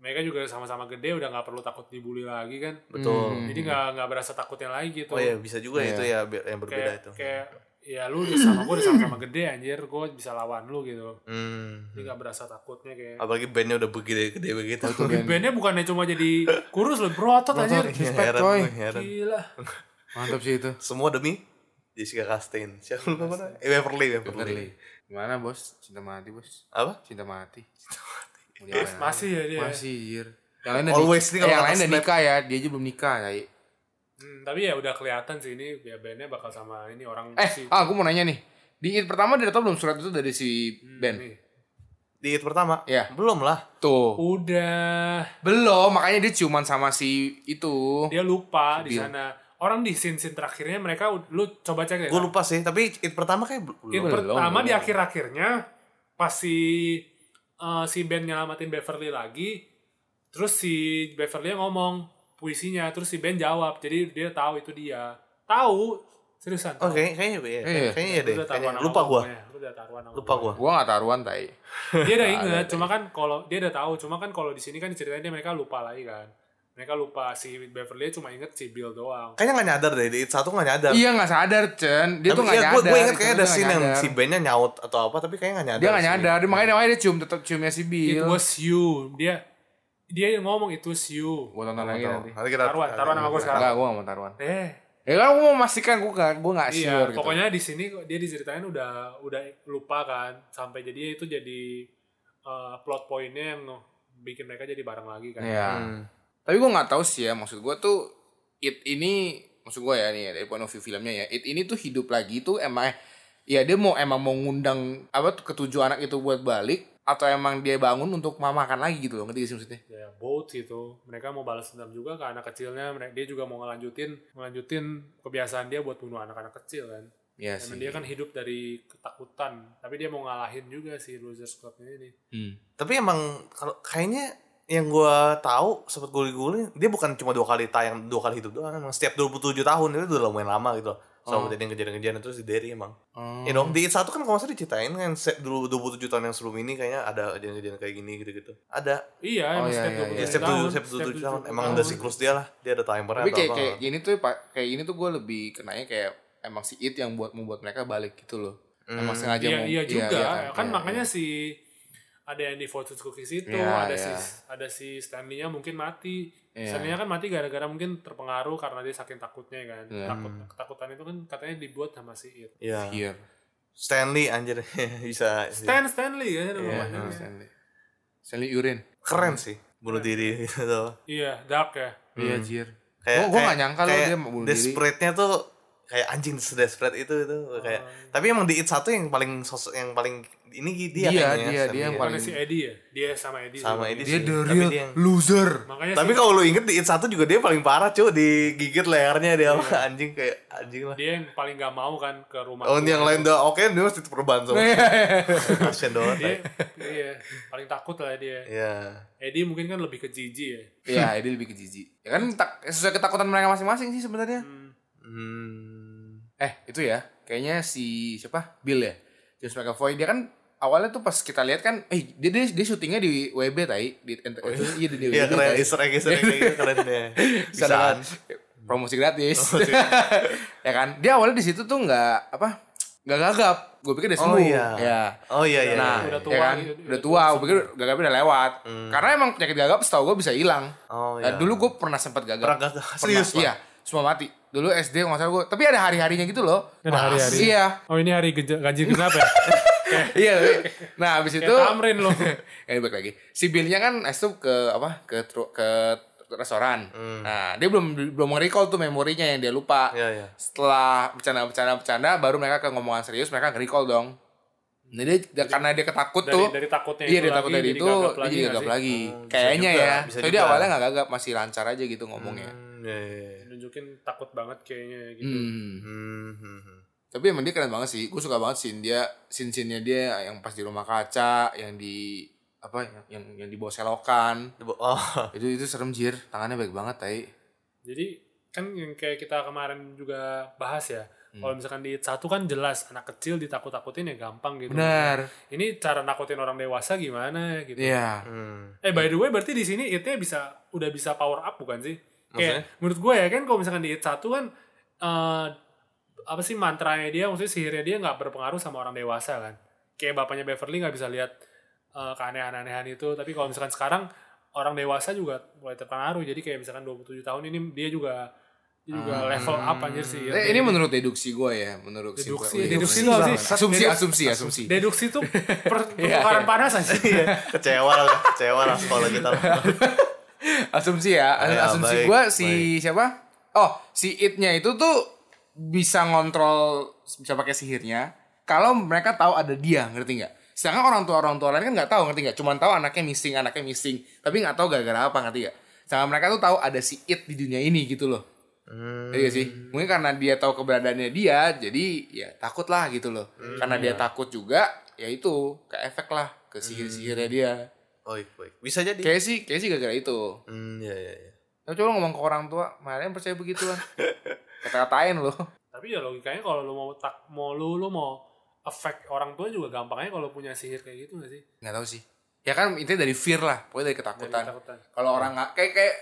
[SPEAKER 2] Mereka juga sama-sama gede udah nggak perlu takut dibully lagi kan.
[SPEAKER 1] Betul.
[SPEAKER 2] Jadi nggak nggak berasa takutnya lagi gitu.
[SPEAKER 1] Oh iya bisa juga
[SPEAKER 3] Iya.
[SPEAKER 1] itu ya bi- yang berbeda
[SPEAKER 2] kayak
[SPEAKER 1] itu.
[SPEAKER 2] kayak ya lu udah sama gue udah sama-sama gede anjir gue bisa lawan lu gitu
[SPEAKER 1] Hmm.
[SPEAKER 2] jadi nggak berasa takutnya kayak
[SPEAKER 1] Apalagi bandnya udah begede-gede begitu.
[SPEAKER 2] bandnya bukannya cuma jadi kurus loh berotot anjir
[SPEAKER 1] Iya,
[SPEAKER 3] Respect,
[SPEAKER 1] heran,
[SPEAKER 3] coy.
[SPEAKER 1] gue, heran.
[SPEAKER 2] gila
[SPEAKER 3] Mantap sih itu.
[SPEAKER 1] Semua demi Jessica Chastain. Siapa lu namanya? Eh, Waverly, Waverly.
[SPEAKER 3] Gimana bos? Cinta mati bos.
[SPEAKER 1] Apa?
[SPEAKER 3] Cinta mati. Udah, apaan
[SPEAKER 2] masih ya
[SPEAKER 3] lagi?
[SPEAKER 2] dia
[SPEAKER 3] Masih. Jir. Yang lain udah
[SPEAKER 1] Always
[SPEAKER 3] nik-
[SPEAKER 1] nih
[SPEAKER 3] eh,
[SPEAKER 1] kalau
[SPEAKER 3] yang
[SPEAKER 1] kata
[SPEAKER 3] lain udah
[SPEAKER 1] Snap.
[SPEAKER 3] nikah ya, dia aja belum nikah ya.
[SPEAKER 2] Hmm, tapi ya udah kelihatan sih ini ya bandnya bakal sama ini orang
[SPEAKER 3] Eh,
[SPEAKER 2] si
[SPEAKER 3] ah, aku mau nanya nih. Di hit pertama dia tahu belum surat itu dari si Ben?
[SPEAKER 2] Hmm, nih.
[SPEAKER 1] Di hit pertama?
[SPEAKER 3] Iya.
[SPEAKER 1] Belum lah.
[SPEAKER 3] Tuh.
[SPEAKER 2] udah
[SPEAKER 3] Belum, makanya dia ciuman sama si itu.
[SPEAKER 2] dia lupa di
[SPEAKER 3] Bill.
[SPEAKER 2] sana orang di scene scene terakhirnya mereka ud- lu coba cek
[SPEAKER 3] Iya.
[SPEAKER 2] deh
[SPEAKER 1] Gue lupa sih, tapi hit pertama kayak bel-
[SPEAKER 2] Yang
[SPEAKER 1] belum.
[SPEAKER 2] pertama
[SPEAKER 3] belum.
[SPEAKER 2] di akhir-akhirnya pas si eh, si Ben nyelamatin Beverly lagi, terus si Beverly ngomong puisinya, terus si Ben jawab. Jadi dia tahu itu dia. Tahu seriusan.
[SPEAKER 1] Oh,
[SPEAKER 2] tahu.
[SPEAKER 1] kayaknya kayaknya iya.
[SPEAKER 3] Iya.
[SPEAKER 1] Kayaknya iya deh.
[SPEAKER 2] Lu udah taruhan
[SPEAKER 1] Kayaknya.
[SPEAKER 2] sama
[SPEAKER 1] Lupa gua.
[SPEAKER 2] pokoknya. Lu udah taruhan sama
[SPEAKER 1] Lupa gua.
[SPEAKER 3] Gua gak taruhan tai.
[SPEAKER 1] Iya.
[SPEAKER 2] Dia udah inget, cuma kan kalau dia udah tahu, cuma kan kalau di sini kan ceritanya dia mereka lupa lagi kan. Mereka lupa si Beverly cuma inget si Bill doang.
[SPEAKER 1] Kayaknya gak nyadar deh, di hit satu gak nyadar. iya,
[SPEAKER 3] Iya gak sadar Chen Dia tuh gak nyadar gitu,
[SPEAKER 1] Gue inget kayaknya
[SPEAKER 3] Dia
[SPEAKER 1] ada
[SPEAKER 3] nggak
[SPEAKER 1] scene yang
[SPEAKER 3] nyadar.
[SPEAKER 1] si bandnya nyaut atau apa, tapi kayaknya gak nyadar.
[SPEAKER 3] Dia gak
[SPEAKER 1] sih.
[SPEAKER 3] nyadar dia,
[SPEAKER 1] Iya.
[SPEAKER 3] Makanya makanya dia cium tetap ciumnya si
[SPEAKER 2] It
[SPEAKER 3] Bill
[SPEAKER 2] was you. Dia dia ngomong itu was you.
[SPEAKER 3] Gua tonton lagi
[SPEAKER 1] Tahu.
[SPEAKER 3] nanti
[SPEAKER 1] Nanti kita
[SPEAKER 2] Taruhan,
[SPEAKER 3] iya.
[SPEAKER 2] taruhan sama gue sekarang.
[SPEAKER 3] Enggak gua gak mau taruhan
[SPEAKER 2] Eh,
[SPEAKER 3] Ya kan gua mau memastikan Gua gak, gua gak
[SPEAKER 2] Iya,
[SPEAKER 3] sure gitu
[SPEAKER 2] pokoknya di sini kok dia diceritain udah udah lupa kan sampai jadi itu jadi eh, plot pointnya yang bikin mereka jadi bareng lagi kan.
[SPEAKER 3] Iya
[SPEAKER 1] Hmm.
[SPEAKER 3] Tapi gua gak tahu sih ya Maksud gua tuh It ini Maksud gua ya nih Dari point of view filmnya ya It ini tuh hidup lagi tuh emang Ya dia mau emang mau ngundang Apa tuh ketujuh anak itu buat balik Atau emang dia bangun untuk mamakan lagi gitu loh Ngerti gak sih maksudnya
[SPEAKER 2] Ya, both gitu. Mereka mau balas dendam juga ke anak kecilnya. Mereka, dia juga mau ngelanjutin ngelanjutin kebiasaan dia buat bunuh anak-anak kecil kan.
[SPEAKER 3] Iya
[SPEAKER 2] Emang
[SPEAKER 3] sih
[SPEAKER 2] dia kan hidup dari ketakutan, tapi dia mau ngalahin juga si losers clubnya ini.
[SPEAKER 3] Hmm.
[SPEAKER 1] Tapi emang kalau kayaknya yang gua tahu sempat guli-guli dia bukan cuma dua kali tayang dua kali hidup doang emang setiap 27 tahun itu udah lumayan lama gitu loh sama kejadian kejadian-kejadian terus di Derry emang
[SPEAKER 3] Oh.
[SPEAKER 2] Ya
[SPEAKER 1] you know di It satu kan kalau nggak salah diceritain kan set dulu 27 tahun yang sebelum ini kayaknya ada kejadian-kejadian kayak gini gitu-gitu ada
[SPEAKER 2] Iya,
[SPEAKER 3] Oh,
[SPEAKER 2] emang
[SPEAKER 3] iya,
[SPEAKER 2] setiap
[SPEAKER 3] iya, iya.
[SPEAKER 1] ya,
[SPEAKER 2] 27
[SPEAKER 1] setiap
[SPEAKER 2] tahun.
[SPEAKER 1] tujuh setiap 27 tahun emang ada siklus dia lah dia ada timernya
[SPEAKER 3] tapi
[SPEAKER 1] atau
[SPEAKER 3] kayak
[SPEAKER 1] apa
[SPEAKER 3] kayak gini tuh pak kayak gini tuh gue lebih kenanya kayak emang si it yang buat membuat mereka balik gitu loh emang sengaja
[SPEAKER 2] Iya,
[SPEAKER 3] mau
[SPEAKER 2] iya juga. kan
[SPEAKER 3] Iya,
[SPEAKER 2] makanya
[SPEAKER 3] iya.
[SPEAKER 2] si ada yang di Fortune Cookies itu,
[SPEAKER 3] Iya,
[SPEAKER 2] ada si
[SPEAKER 3] iya.
[SPEAKER 2] ada si Stanley-nya mungkin mati.
[SPEAKER 3] Iya.
[SPEAKER 2] Stanley-nya kan mati gara-gara mungkin terpengaruh karena dia saking takutnya kan.
[SPEAKER 3] Iya.
[SPEAKER 2] Takut ketakutan itu kan katanya dibuat sama si It.
[SPEAKER 1] ya
[SPEAKER 3] Fear.
[SPEAKER 1] Stanley anjir bisa
[SPEAKER 2] Stan Stanley kan nama
[SPEAKER 3] Iya,
[SPEAKER 2] panjangnya.
[SPEAKER 3] Stanley Stanley Urin
[SPEAKER 1] keren sih bunuh diri gitu
[SPEAKER 2] Iya, dark ya.
[SPEAKER 3] iya jir
[SPEAKER 1] kayak
[SPEAKER 3] Gua- gua
[SPEAKER 1] kayak-
[SPEAKER 3] nggak nyangka loh
[SPEAKER 1] kayak
[SPEAKER 3] dia mau bunuh diri.
[SPEAKER 1] desperate-nya tuh kayak anjing desperate itu itu kayak
[SPEAKER 3] Oh.
[SPEAKER 1] tapi emang di it satu yang paling sosok yang paling ini dia kayaknya
[SPEAKER 3] Dia, dia,
[SPEAKER 1] Sam,
[SPEAKER 3] dia yang
[SPEAKER 1] iya.
[SPEAKER 2] Bukannya
[SPEAKER 3] Paling-
[SPEAKER 2] si Eddie ya? Dia sama Eddie.
[SPEAKER 1] sama
[SPEAKER 2] Iya sih.
[SPEAKER 1] ini
[SPEAKER 3] dia
[SPEAKER 1] sih
[SPEAKER 3] the
[SPEAKER 1] tapi
[SPEAKER 3] real
[SPEAKER 1] dia yang-
[SPEAKER 3] loser
[SPEAKER 2] Makanya
[SPEAKER 1] tapi
[SPEAKER 2] si-
[SPEAKER 1] kalau lu inget di it satu juga dia paling parah cuy digigit lehernya dia
[SPEAKER 3] Iya.
[SPEAKER 1] sama anjing kayak anjing lah
[SPEAKER 2] dia yang paling gak mau kan ke rumah.
[SPEAKER 1] Oh yang lain udah oke dia mesti perban sama
[SPEAKER 3] Iya,
[SPEAKER 1] kasian doang
[SPEAKER 2] Dia, iya, paling takut lah dia.
[SPEAKER 1] ya
[SPEAKER 2] Eddie mungkin kan lebih ke jijik ya.
[SPEAKER 3] Iya, dia lebih ke jijik. Ya kan tak, sesuai ketakutan mereka masing-masing sih sebenarnya.
[SPEAKER 1] hmm.
[SPEAKER 3] Eh, itu ya. Kayaknya si siapa? Bill ya. James McAvoy dia kan awalnya tuh pas kita lihat kan eh dia dia, dia syutingnya di WB tai di iya di, di
[SPEAKER 1] Iya
[SPEAKER 3] WB,
[SPEAKER 1] keren
[SPEAKER 3] tai.
[SPEAKER 1] Easter egg Easter egg kayak gitu keren deh.
[SPEAKER 3] Bisa
[SPEAKER 1] Bisaan.
[SPEAKER 3] kan? promosi gratis. ya kan? Dia awalnya di situ tuh nggak apa? nggak gagap. Gue pikir dia
[SPEAKER 1] Oh
[SPEAKER 3] sembuh.
[SPEAKER 1] iya.
[SPEAKER 3] Ya.
[SPEAKER 1] Oh iya iya. iya.
[SPEAKER 3] Nah,
[SPEAKER 1] Hmm.
[SPEAKER 2] Udah tua
[SPEAKER 3] ya kan?
[SPEAKER 2] gitu,
[SPEAKER 3] udah,
[SPEAKER 2] udah
[SPEAKER 3] tua,
[SPEAKER 2] tua
[SPEAKER 3] gue pikir gagapnya udah lewat. Karena emang penyakit gagap setahu gue bisa hilang.
[SPEAKER 1] Oh,
[SPEAKER 3] Eh,
[SPEAKER 1] iya.
[SPEAKER 3] dulu gue pernah sempat gagap.
[SPEAKER 1] Pernah gagap? Serius, Pak?
[SPEAKER 3] Iya, semua mati. Dulu SD nggak salah gue. Tapi ada hari-harinya gitu loh.
[SPEAKER 2] Ada hari-hari.
[SPEAKER 3] Iya.
[SPEAKER 2] Oh ini hari ganjil genap ya?
[SPEAKER 3] Iya. tapi- Nah, habis itu
[SPEAKER 2] tamrin lu.
[SPEAKER 3] ya, balik lagi. Si Bill-nya kan es tuh ke apa? Ke tru- ke restoran.
[SPEAKER 1] Hmm.
[SPEAKER 3] Nah, dia belum belum recall tuh memorinya yang dia lupa.
[SPEAKER 1] Iya, iya.
[SPEAKER 3] Setelah bercanda-bercanda-bercanda baru mereka ke ngomongan serius, mereka nge-recall dong. Nah, dia, karena dia ketakut
[SPEAKER 2] dari-
[SPEAKER 3] tuh.
[SPEAKER 2] dari takutnya
[SPEAKER 3] Iya,
[SPEAKER 2] itu
[SPEAKER 3] dia takut
[SPEAKER 2] lagi,
[SPEAKER 3] dari
[SPEAKER 2] jadi
[SPEAKER 3] itu,
[SPEAKER 2] gagap
[SPEAKER 3] dia
[SPEAKER 2] lagi
[SPEAKER 3] jadi
[SPEAKER 2] nggak
[SPEAKER 3] gagap
[SPEAKER 2] sih?
[SPEAKER 3] lagi.
[SPEAKER 1] Hmm, bisa
[SPEAKER 3] Kayaknya
[SPEAKER 1] juga,
[SPEAKER 3] ya.
[SPEAKER 1] bisa
[SPEAKER 3] Jadi dia
[SPEAKER 1] juga.
[SPEAKER 3] awalnya nggak gagap, masih lancar aja gitu ngomongnya.
[SPEAKER 1] Hmm, iya, iya, iya.
[SPEAKER 2] nunjukin takut banget kayaknya gitu
[SPEAKER 3] Hmm.
[SPEAKER 1] Hmm, hmm, hmm.
[SPEAKER 3] Tapi emang dia keren banget sih. Gue suka banget scene dia, scene-scene-nya dia yang pas di rumah kaca, yang di apa yang yang, yang di bawah selokan.
[SPEAKER 1] Oh,
[SPEAKER 3] Itu itu serem jir, tangannya baik banget tai.
[SPEAKER 2] Jadi kan yang kayak kita kemarin juga bahas ya.
[SPEAKER 3] Hmm.
[SPEAKER 2] Kalau misalkan di satu kan jelas anak kecil ditakut-takutin ya gampang gitu.
[SPEAKER 3] Benar.
[SPEAKER 2] Ini cara nakutin orang dewasa gimana gitu.
[SPEAKER 3] Iya.
[SPEAKER 1] Hmm.
[SPEAKER 2] Eh by the way berarti di sini itnya bisa udah bisa power up bukan sih?
[SPEAKER 1] Maksudnya?
[SPEAKER 2] Kayak menurut gue ya kan kalau misalkan di it satu kan eh apa sih mantranya dia maksudnya sihirnya dia nggak berpengaruh sama orang dewasa kan. Kayak bapaknya Beverly nggak bisa lihat eh, keanehan-anehan itu tapi kalau misalkan sekarang orang dewasa juga mulai terpengaruh jadi kayak misalkan 27 tahun ini dia juga dia juga level up anjir sih.
[SPEAKER 3] Eh, ini menurut deduksi gue ya, menurut
[SPEAKER 2] Iya, Deduksi,
[SPEAKER 3] simpel-
[SPEAKER 2] deduksi
[SPEAKER 3] iya,
[SPEAKER 2] nggak
[SPEAKER 3] bener.
[SPEAKER 2] sih?
[SPEAKER 3] Asumsi,
[SPEAKER 2] Deduksi.
[SPEAKER 3] asumsi, asumsi.
[SPEAKER 2] deduksi tuh
[SPEAKER 3] Iya,
[SPEAKER 2] per- pertukaran panas aja.
[SPEAKER 1] kecewa lah, kecewa lah sekolah kita. lah.
[SPEAKER 3] asumsi ya,
[SPEAKER 1] Ya, baik,
[SPEAKER 3] asumsi gue si siapa? Oh, si itnya itu tuh bisa ngontrol bisa pakai sihirnya. Kalau mereka tahu ada dia, ngerti nggak? Sedangkan orang tua orang tua lain kan nggak tahu, ngerti nggak? Cuman tahu anaknya missing, anaknya missing, tapi nggak tahu gara-gara apa, ngerti nggak? Sedangkan mereka tuh tahu ada si it di dunia ini gitu loh.
[SPEAKER 1] Hmm.
[SPEAKER 3] Iya sih, mungkin karena dia tahu keberadaannya dia, jadi ya takut lah gitu loh.
[SPEAKER 1] Hmm,
[SPEAKER 3] karena dia
[SPEAKER 1] iya.
[SPEAKER 3] takut juga, ya itu ke efek lah ke sihir-sihirnya
[SPEAKER 1] Hmm.
[SPEAKER 3] dia.
[SPEAKER 1] Baik, baik. Bisa jadi.
[SPEAKER 3] Kayak sih, kayak sih gara-gara itu.
[SPEAKER 1] Hmm, iya, iya, iya.
[SPEAKER 3] Tapi coba ngomong ke orang tua, mana yang percaya begituan? Kata-katain lo.
[SPEAKER 2] tapi ya logikanya kalau lu mau tak mau lu lu mau affect orang tua juga gampangnya kalau punya sihir kayak gitu gak sih
[SPEAKER 3] Nggak tahu sih. Ya kan intinya dari fear lah, pokoknya dari ketakutan.
[SPEAKER 2] Dari ketakutan.
[SPEAKER 3] Kalau orang nggak kayak kayak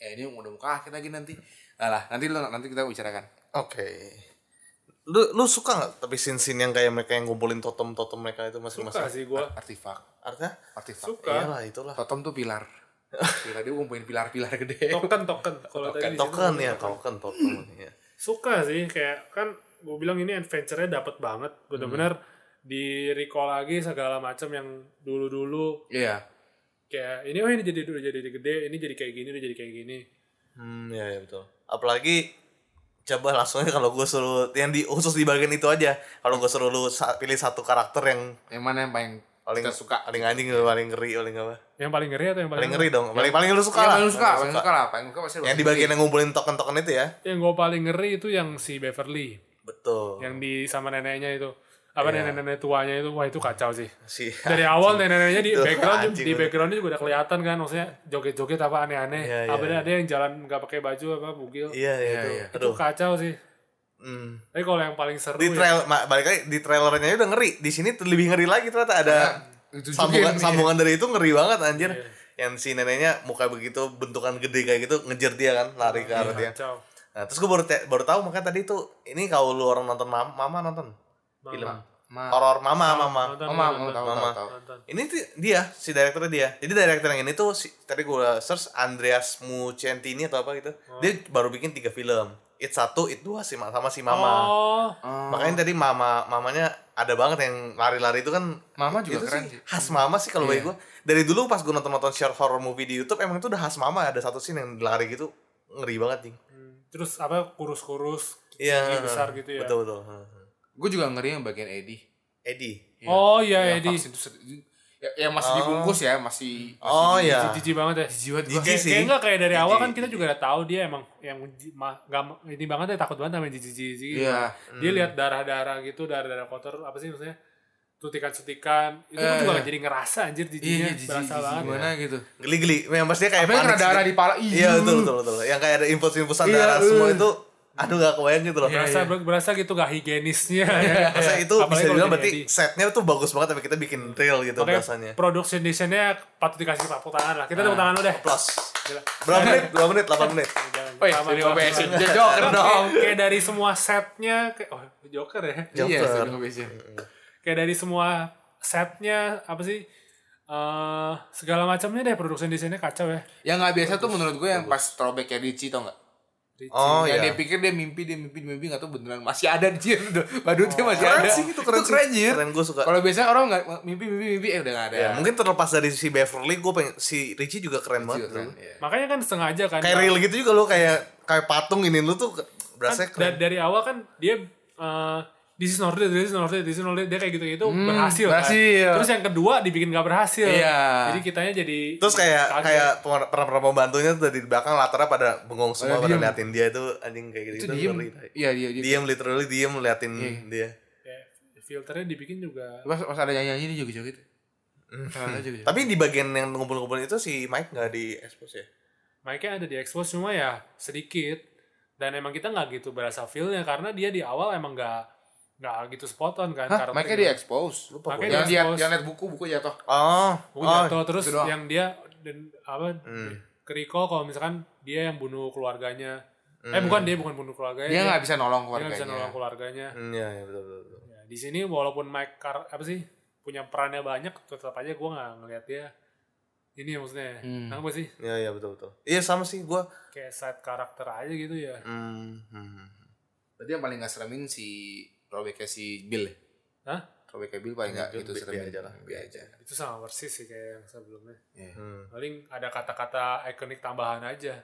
[SPEAKER 3] ya ini udah mau kaget lagi nanti. Nah lah, nanti lo nanti kita bicarakan.
[SPEAKER 1] Oke. Lu lu suka nggak tapi sin-sin yang kayak mereka yang ngumpulin totem-totem mereka itu
[SPEAKER 2] suka
[SPEAKER 1] masing-masing?
[SPEAKER 2] sih gue
[SPEAKER 3] Artifak,
[SPEAKER 1] Artinya?
[SPEAKER 3] artifak.
[SPEAKER 2] suka
[SPEAKER 1] Iyalah itulah.
[SPEAKER 3] Totem tuh pilar. pilar dia ngumpulin pilar-pilar gede.
[SPEAKER 2] token token kalau tadi di situ
[SPEAKER 1] Token
[SPEAKER 2] ngomong
[SPEAKER 1] ya,
[SPEAKER 2] token.
[SPEAKER 1] token totem ya.
[SPEAKER 2] suka sih kayak kan gue bilang ini adventure-nya dapet banget bener-bener di recall lagi segala macam yang dulu-dulu
[SPEAKER 3] Iya.
[SPEAKER 2] kayak ini oh ini jadi udah jadi gede ini jadi kayak gini udah jadi kayak gini
[SPEAKER 1] Hmm, ya, ya betul. Apalagi coba langsungnya kalau gue suruh yang di khusus di bagian itu aja kalau gue suruh lu sa- pilih satu karakter yang
[SPEAKER 3] Yang mana yang paling
[SPEAKER 1] paling
[SPEAKER 3] kita suka?
[SPEAKER 1] paling anjing paling ngeri paling apa
[SPEAKER 2] yang paling ngeri atau yang paling,
[SPEAKER 1] paling ngeri dong paling paling lu suka
[SPEAKER 3] yang
[SPEAKER 1] lah
[SPEAKER 3] paling suka, paling suka lah, paling suka pasti
[SPEAKER 1] yang di bagian yang ngumpulin token-token itu ya
[SPEAKER 2] yang gue paling ngeri itu yang si Beverly
[SPEAKER 1] betul
[SPEAKER 2] yang di sama neneknya itu apa
[SPEAKER 1] Iya.
[SPEAKER 2] nenek-nenek tuanya itu wah itu kacau sih
[SPEAKER 1] si
[SPEAKER 2] dari awal nenek-neneknya di
[SPEAKER 1] Tuh,
[SPEAKER 2] background
[SPEAKER 1] anjing
[SPEAKER 2] di
[SPEAKER 1] bener.
[SPEAKER 2] backgroundnya juga udah kelihatan kan maksudnya joget-joget apa aneh-aneh
[SPEAKER 1] Iya, iya,
[SPEAKER 2] apa ada-
[SPEAKER 1] iya.
[SPEAKER 2] ada yang jalan nggak pakai baju apa bugil
[SPEAKER 1] iya iya
[SPEAKER 3] Iya,
[SPEAKER 1] itu.
[SPEAKER 3] iya.
[SPEAKER 2] itu
[SPEAKER 1] aduh
[SPEAKER 2] kacau sih
[SPEAKER 1] hmm.
[SPEAKER 2] tapi kalau yang paling seru
[SPEAKER 1] di
[SPEAKER 2] ya,
[SPEAKER 1] trail ma- balik lagi di trailernya udah ngeri di sini tuh lebih ngeri lagi ternyata ada
[SPEAKER 3] itu
[SPEAKER 1] sambungan sambungan dari itu ngeri banget anjir
[SPEAKER 2] Iya.
[SPEAKER 1] yang si neneknya muka begitu bentukan gede kayak gitu ngejar dia kan lari ke arah dia
[SPEAKER 2] Iya, kacau
[SPEAKER 1] nah, terus gue baru te- baru tahu makanya tadi tuh ini kalau lu orang nonton mama, mama nonton film
[SPEAKER 3] Ma-
[SPEAKER 1] horor mama mama
[SPEAKER 2] nonton,
[SPEAKER 3] Oh, mama, tahu,
[SPEAKER 2] nonton,
[SPEAKER 3] tahu,
[SPEAKER 1] Mama.
[SPEAKER 3] tahu.
[SPEAKER 2] nonton.
[SPEAKER 1] ini tuh dia si direkturnya dia jadi direktur yang ini tuh si, tadi gue search Andreas Muccentini atau apa gitu dia baru bikin tiga film it satu it dua si Ma- sama si mama
[SPEAKER 2] oh
[SPEAKER 1] makanya tadi mama mamanya ada banget yang lari-lari itu kan
[SPEAKER 3] Mama
[SPEAKER 1] itu
[SPEAKER 3] juga keren
[SPEAKER 1] sih
[SPEAKER 3] sih.
[SPEAKER 1] khas mama sih kalau bagi
[SPEAKER 3] Iya.
[SPEAKER 1] gue dari dulu pas gue nonton nonton short horror movie di YouTube emang itu udah khas mama ada satu scene yang lari gitu ngeri banget jing
[SPEAKER 2] hmm. terus apa kurus-kurus tinggi
[SPEAKER 1] iya
[SPEAKER 2] besar gitu ya
[SPEAKER 1] betul betul Heeh.
[SPEAKER 3] Gue juga ngeri yang bagian Eddie.
[SPEAKER 1] Eddie
[SPEAKER 2] oh iya
[SPEAKER 3] yang
[SPEAKER 2] Edi
[SPEAKER 3] vaksin itu sed- ya, yang masih dibungkus ya masih
[SPEAKER 1] oh
[SPEAKER 3] masih
[SPEAKER 1] ya
[SPEAKER 2] jijik banget ya
[SPEAKER 3] jiwa
[SPEAKER 1] Jijik
[SPEAKER 2] Kayak,
[SPEAKER 1] sih.
[SPEAKER 2] kayak enggak kayak dari awal
[SPEAKER 3] Jijik,
[SPEAKER 2] kan kita juga udah tahu dia emang yang ji- ma- gak, ma- ini banget ya takut banget sama jijik-jijik. gitu.
[SPEAKER 3] Iya.
[SPEAKER 2] Dia
[SPEAKER 1] Hmm.
[SPEAKER 2] lihat darah-darah gitu, darah-darah kotor apa sih maksudnya? Sutikan-sutikan. Itu
[SPEAKER 3] Eh,
[SPEAKER 2] gua juga
[SPEAKER 3] iya.
[SPEAKER 2] gak jadi ngerasa anjir
[SPEAKER 3] iya
[SPEAKER 2] jijiknya
[SPEAKER 3] iya jijik
[SPEAKER 2] berasa
[SPEAKER 3] jijik
[SPEAKER 2] banget. ya.
[SPEAKER 3] gimana gitu
[SPEAKER 1] geli-geli memang pasti kayak
[SPEAKER 3] Apalagi kena
[SPEAKER 1] panik
[SPEAKER 3] darah
[SPEAKER 1] sih.
[SPEAKER 3] di kepala,
[SPEAKER 1] iya
[SPEAKER 3] ih.
[SPEAKER 1] betul betul betul yang kayak ada infus-infusan
[SPEAKER 3] Iya,
[SPEAKER 1] darah semua
[SPEAKER 3] eh. Iya,
[SPEAKER 1] itu aduh gak kebayang gitu loh
[SPEAKER 2] Berasa ber- berasa gitu gak higienisnya. ya.
[SPEAKER 1] Iya, Masa itu
[SPEAKER 2] Apalagi
[SPEAKER 1] bisa
[SPEAKER 2] kalau
[SPEAKER 1] dibilang
[SPEAKER 2] jadi
[SPEAKER 1] berarti
[SPEAKER 2] Eddie.
[SPEAKER 1] setnya tuh bagus banget tapi kita bikin real gitu
[SPEAKER 2] Makanya
[SPEAKER 1] rasanya Ah.
[SPEAKER 2] production desainnya patut dikasih tepuk tangan lah. Kita tepuk tangan lu deh.
[SPEAKER 1] plus
[SPEAKER 2] Gila.
[SPEAKER 1] berapa menit? 2 menit? 8 menit?
[SPEAKER 2] Jangan-
[SPEAKER 3] Woi,
[SPEAKER 2] sama-
[SPEAKER 3] jadi
[SPEAKER 2] sama-
[SPEAKER 3] Oh, iya, obesin.
[SPEAKER 2] sama-
[SPEAKER 3] Jadi Joker
[SPEAKER 2] Kayak-
[SPEAKER 3] dong.
[SPEAKER 2] Kayak dari semua setnya, kayak, oh Joker ya.
[SPEAKER 3] Iya,
[SPEAKER 1] Joker.
[SPEAKER 3] sudah obesin.
[SPEAKER 2] kayak dari semua setnya apa sih eh segala macamnya deh production desainnya kacau ya
[SPEAKER 3] Yang nggak biasa tuh menurut gue yang pas throwback ya Ricci tau nggak?
[SPEAKER 2] Richie.
[SPEAKER 1] Oh
[SPEAKER 3] yang
[SPEAKER 1] iya.
[SPEAKER 3] dia pikir dia mimpi dia mimpi dia mimpi nggak tahu beneran masih ada di dia badutnya masih
[SPEAKER 1] Oh, Keren
[SPEAKER 3] ada
[SPEAKER 1] sih, itu keren sih.
[SPEAKER 3] anjir.
[SPEAKER 1] Keren, gua suka.
[SPEAKER 3] kalau biasanya orang nggak mimpi mimpi mimpi eh udah nggak ada
[SPEAKER 1] Ya, mungkin terlepas dari si Beverly, gue pengen si Richie juga keren banget.
[SPEAKER 3] Juga keren,
[SPEAKER 1] dulu.
[SPEAKER 3] iya.
[SPEAKER 2] Makanya kan sengaja kan.
[SPEAKER 1] Kayak real gitu juga lo kayak kayak patung ini lu tuh ke-
[SPEAKER 2] kan
[SPEAKER 1] berasa
[SPEAKER 2] da-
[SPEAKER 1] keren.
[SPEAKER 2] dari awal kan dia eh, this is not it, this is not it, this is not it. Dia kayak gitu-gitu
[SPEAKER 1] Hmm,
[SPEAKER 2] berhasil,
[SPEAKER 3] berhasil.
[SPEAKER 2] kan. Terus yang kedua dibikin gak berhasil.
[SPEAKER 3] Iya.
[SPEAKER 2] Jadi kitanya jadi
[SPEAKER 1] Terus kayak
[SPEAKER 2] kaget.
[SPEAKER 1] kayak pemer- peran-peran pembantunya tuh dari belakang latarnya pada bengong semua
[SPEAKER 3] Pada
[SPEAKER 1] pada
[SPEAKER 3] Oh, diem.
[SPEAKER 1] liatin dia itu anjing kayak
[SPEAKER 3] itu
[SPEAKER 1] gitu.
[SPEAKER 3] diem iya iya dia
[SPEAKER 1] Diem literally diem liatin dia.
[SPEAKER 2] Kayak filternya dibikin juga
[SPEAKER 3] pas, pas ada nyanyi nyanyi dia juga joget Ada joget
[SPEAKER 1] Hmm. Tapi di bagian yang ngumpul-ngumpul itu si Mike nggak di expose ya?
[SPEAKER 2] Mike-nya ada di expose cuma ya sedikit dan emang kita nggak gitu berasa feel-nya karena dia di awal emang nggak nggak gitu spot on kan
[SPEAKER 3] Hah,
[SPEAKER 2] karakternya.
[SPEAKER 3] makanya dia expose.
[SPEAKER 1] Lupa gue.
[SPEAKER 2] Makanya dia
[SPEAKER 3] Yang lihat
[SPEAKER 2] expose.
[SPEAKER 3] yang lihat buku buku jatuh.
[SPEAKER 1] Oh,
[SPEAKER 2] Buku
[SPEAKER 1] oh,
[SPEAKER 2] jatuh, terus
[SPEAKER 3] itu doang.
[SPEAKER 2] yang dia dan apa
[SPEAKER 1] Hmm.
[SPEAKER 2] ke Rico kalau misalkan dia yang bunuh keluarganya eh bukan dia bukan bunuh keluarganya
[SPEAKER 3] Hmm. Eh, Dia nggak bisa
[SPEAKER 2] dia nggak
[SPEAKER 3] nolong keluarganya.
[SPEAKER 2] bisa nolong keluarganya
[SPEAKER 1] Hmm, Iya, iya, betul, betul, betul.
[SPEAKER 2] Ya, di sini walaupun Mike Car- apa sih punya perannya banyak tetap aja gue nggak ngelihat dia ini ya maksudnya
[SPEAKER 3] Hmm.
[SPEAKER 2] apa sih
[SPEAKER 1] Iya, iya, betul, betul. Iya, sama sih gue.
[SPEAKER 2] kayak side karakter aja gitu ya
[SPEAKER 1] Hmm, hmm.
[SPEAKER 3] Berarti yang paling nggak seremin si robeknya si Bill. ya?
[SPEAKER 2] Hah?
[SPEAKER 3] Robeknya Bill paling nggak
[SPEAKER 1] Itu
[SPEAKER 3] itu
[SPEAKER 1] bi- bi
[SPEAKER 3] seremin.
[SPEAKER 1] aja lah.
[SPEAKER 3] Bi aja.
[SPEAKER 2] itu sama persis sih kayak yang sebelumnya
[SPEAKER 3] Iya.
[SPEAKER 1] hmm.
[SPEAKER 2] paling ada kata-kata ikonik tambahan aja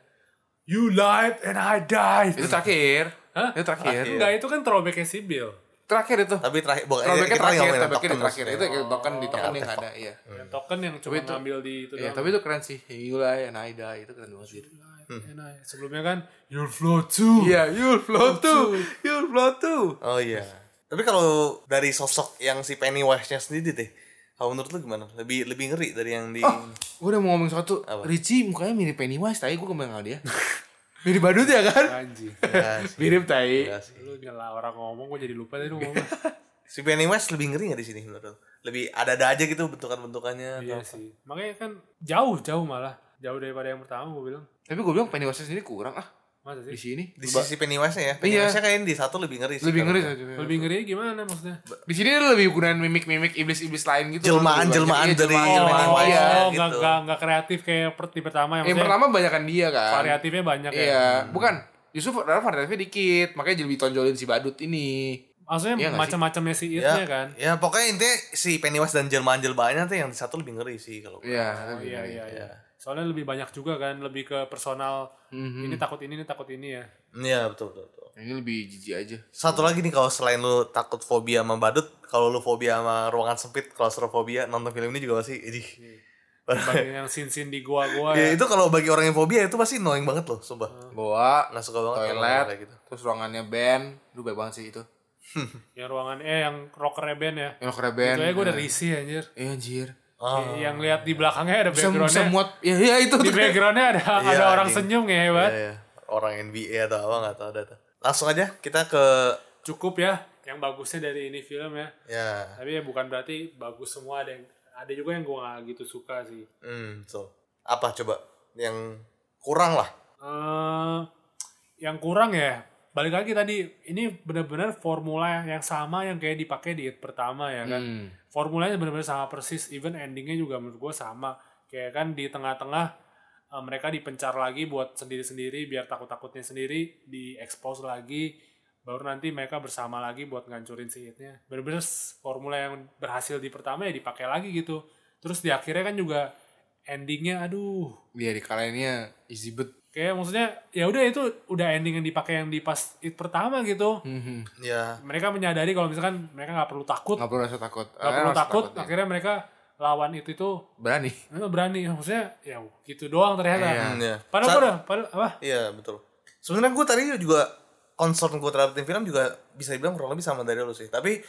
[SPEAKER 2] you lied and I died
[SPEAKER 3] Itu terakhir.
[SPEAKER 2] Hah?
[SPEAKER 3] Itu terakhir.
[SPEAKER 1] Terakhir.
[SPEAKER 2] enggak itu kan throwbacknya si Bill
[SPEAKER 3] Terakhir itu.
[SPEAKER 1] Tapi terakhir, bukan, eh,
[SPEAKER 3] Robeknya
[SPEAKER 1] kita nggak
[SPEAKER 3] terakhir,
[SPEAKER 1] ngomongin
[SPEAKER 3] robeknya di
[SPEAKER 1] Tottenham
[SPEAKER 3] terakhir. Itu
[SPEAKER 1] maksudnya.
[SPEAKER 3] kayak token di token yang nggak ada, ya. iya.
[SPEAKER 2] yang token yang cuma
[SPEAKER 3] itu-
[SPEAKER 2] ngambil di itu
[SPEAKER 3] Iya,
[SPEAKER 2] doang.
[SPEAKER 3] tapi itu keren sih. Yula ya, Naida itu keren banget sih.
[SPEAKER 2] And I- sebelumnya kan you'll flow too
[SPEAKER 3] Iya, you'll flow too. You'll flow too.
[SPEAKER 1] Oh iya. Tapi kalau dari sosok yang si Pennywise-nya sendiri deh, kalau menurut lu gimana? Lebih lebih ngeri dari yang di
[SPEAKER 3] Gue udah mau ngomong sesuatu.
[SPEAKER 1] Apa?
[SPEAKER 3] Richie mukanya mirip Pennywise, tapi gue kembali sama dia. mirip badut ya kan?
[SPEAKER 2] anjing
[SPEAKER 1] Ya, sih.
[SPEAKER 3] Mirip tai.
[SPEAKER 1] Ya, sih.
[SPEAKER 2] lu nyala orang ngomong gue jadi lupa tadi lu ngomong
[SPEAKER 1] Si Pennywise lebih ngeri nggak di sini menurut lu? Lebih ada-ada aja gitu bentukan-bentukannya.
[SPEAKER 2] iya
[SPEAKER 1] atau-
[SPEAKER 2] sih makanya kan jauh jauh malah jauh daripada yang pertama gue bilang
[SPEAKER 3] Tapi gue bilang Pennywise sendiri kurang ah
[SPEAKER 2] masa
[SPEAKER 3] di
[SPEAKER 2] sih
[SPEAKER 3] sini.
[SPEAKER 1] Di sisi Pennywise ya.
[SPEAKER 3] Iya.
[SPEAKER 1] Pennywise-nya kayaknya di satu lebih ngeri sih.
[SPEAKER 3] lebih ngeri
[SPEAKER 1] kalau-
[SPEAKER 3] saja.
[SPEAKER 2] lebih ngeri gimana maksudnya
[SPEAKER 3] Di sini ada lebih gunain mimik-mimik iblis-iblis lain gitu.
[SPEAKER 1] Jelmaan-jelmaan
[SPEAKER 3] Iya,
[SPEAKER 1] dari
[SPEAKER 3] jelmaan.
[SPEAKER 1] Pennywise.
[SPEAKER 3] Oh, iya.
[SPEAKER 2] oh
[SPEAKER 1] gitu.
[SPEAKER 2] nggak nggak nggak kreatif kayak per, di pertama yang
[SPEAKER 3] Yang
[SPEAKER 2] maksudnya
[SPEAKER 3] pertama banyakan dia kan.
[SPEAKER 2] variatifnya banyak ya
[SPEAKER 3] Iya, bukan. Justru padahal variatifnya dikit, makanya jadi ditonjolin si badut ini.
[SPEAKER 2] maksudnya
[SPEAKER 3] Iya nggak sih?
[SPEAKER 2] macam-macamnya si
[SPEAKER 1] Ya,
[SPEAKER 2] it-nya kan
[SPEAKER 1] ya pokoknya intinya si Pennywise dan jelmaan-jelmaannya tuh yang di satu lebih ngeri sih kalau
[SPEAKER 3] Iya,
[SPEAKER 2] Oh,
[SPEAKER 3] lebih
[SPEAKER 2] iya
[SPEAKER 3] ngeri.
[SPEAKER 2] iya iya. Soalnya lebih banyak juga kan, lebih ke personal.
[SPEAKER 3] Mhm.
[SPEAKER 2] Ini takut ini, ini takut ini ya.
[SPEAKER 1] Iya betul betul. betul.
[SPEAKER 3] Ini lebih jijik aja.
[SPEAKER 1] Satu lagi nih kalau selain lu takut fobia sama badut, kalau lu fobia sama ruangan sempit, claustrophobia, nonton film ini juga pasti ih.
[SPEAKER 2] Bagi yang sin-sin di
[SPEAKER 3] Iya,
[SPEAKER 2] gua-gua
[SPEAKER 1] Ya,
[SPEAKER 2] ya.
[SPEAKER 1] itu kalau bagi orang yang fobia itu pasti knowing banget loh, sumpah.
[SPEAKER 3] Bawa
[SPEAKER 1] Nggak suka banget kalau
[SPEAKER 3] toilet,
[SPEAKER 1] kayak gitu.
[SPEAKER 3] terus ruangannya band, lu baik banget sih itu.
[SPEAKER 2] Yang ruangan eh yang rocker band ya.
[SPEAKER 3] Yang keren
[SPEAKER 2] Itu
[SPEAKER 3] band.
[SPEAKER 2] aja gua udah risih anjir.
[SPEAKER 3] Iya anjir.
[SPEAKER 1] eh. Ah.
[SPEAKER 2] Yang lihat di belakangnya ada
[SPEAKER 3] Bisa, bisa
[SPEAKER 2] backgroundnya.
[SPEAKER 3] muat. Ya, ya itu.
[SPEAKER 2] Di
[SPEAKER 3] tuh.
[SPEAKER 2] backgroundnya Ah, ada
[SPEAKER 1] Iya,
[SPEAKER 2] ada orang
[SPEAKER 1] anjing.
[SPEAKER 2] senyum ya
[SPEAKER 1] Iya,
[SPEAKER 2] hebat.
[SPEAKER 1] iya. Orang NBA atau apa nggak tahu ada tuh. Langsung aja kita ke
[SPEAKER 2] Cukup ya. Yang bagusnya dari ini film ya.
[SPEAKER 1] ya.
[SPEAKER 2] Tapi ya bukan berarti bagus semua ada yang ada juga yang gua gak gitu suka sih.
[SPEAKER 1] Hmm, so. Apa coba yang kurang lah.
[SPEAKER 2] eh yang kurang ya balik lagi tadi ini benar-benar formula yang sama yang kayak dipakai di hit pertama ya kan
[SPEAKER 3] Hmm.
[SPEAKER 2] formulanya benar-benar sama persis even endingnya juga menurut gue sama kayak kan di tengah-tengah eh, mereka dipencar lagi buat sendiri-sendiri biar takut-takutnya sendiri di expose lagi baru nanti mereka bersama lagi buat ngancurin si hitnya benar-benar s- formula yang berhasil di pertama ya dipakai lagi gitu terus di akhirnya kan juga endingnya aduh
[SPEAKER 3] Iya, di kalainnya easy bet.
[SPEAKER 2] kayak maksudnya ya udah itu udah ending yang dipakai yang di pas it pertama gitu
[SPEAKER 3] Mhm.
[SPEAKER 1] Ya.
[SPEAKER 2] mereka menyadari kalau misalkan mereka nggak perlu takut
[SPEAKER 3] Nggak perlu rasa takut. Eh,
[SPEAKER 2] nggak perlu
[SPEAKER 3] Rasa
[SPEAKER 2] takut
[SPEAKER 3] takutnya.
[SPEAKER 2] akhirnya mereka lawan itu itu
[SPEAKER 3] Berani.
[SPEAKER 2] eh, berani maksudnya ya gitu doang ternyata
[SPEAKER 3] Iya.
[SPEAKER 1] Hmm, ya.
[SPEAKER 2] padahal
[SPEAKER 1] Sa-
[SPEAKER 2] gua udah padahal apa
[SPEAKER 1] Iya betul. Sebenarnya gue tadi juga concern gue terhadap tim film juga bisa dibilang kurang lebih sama dari lu sih. Tapi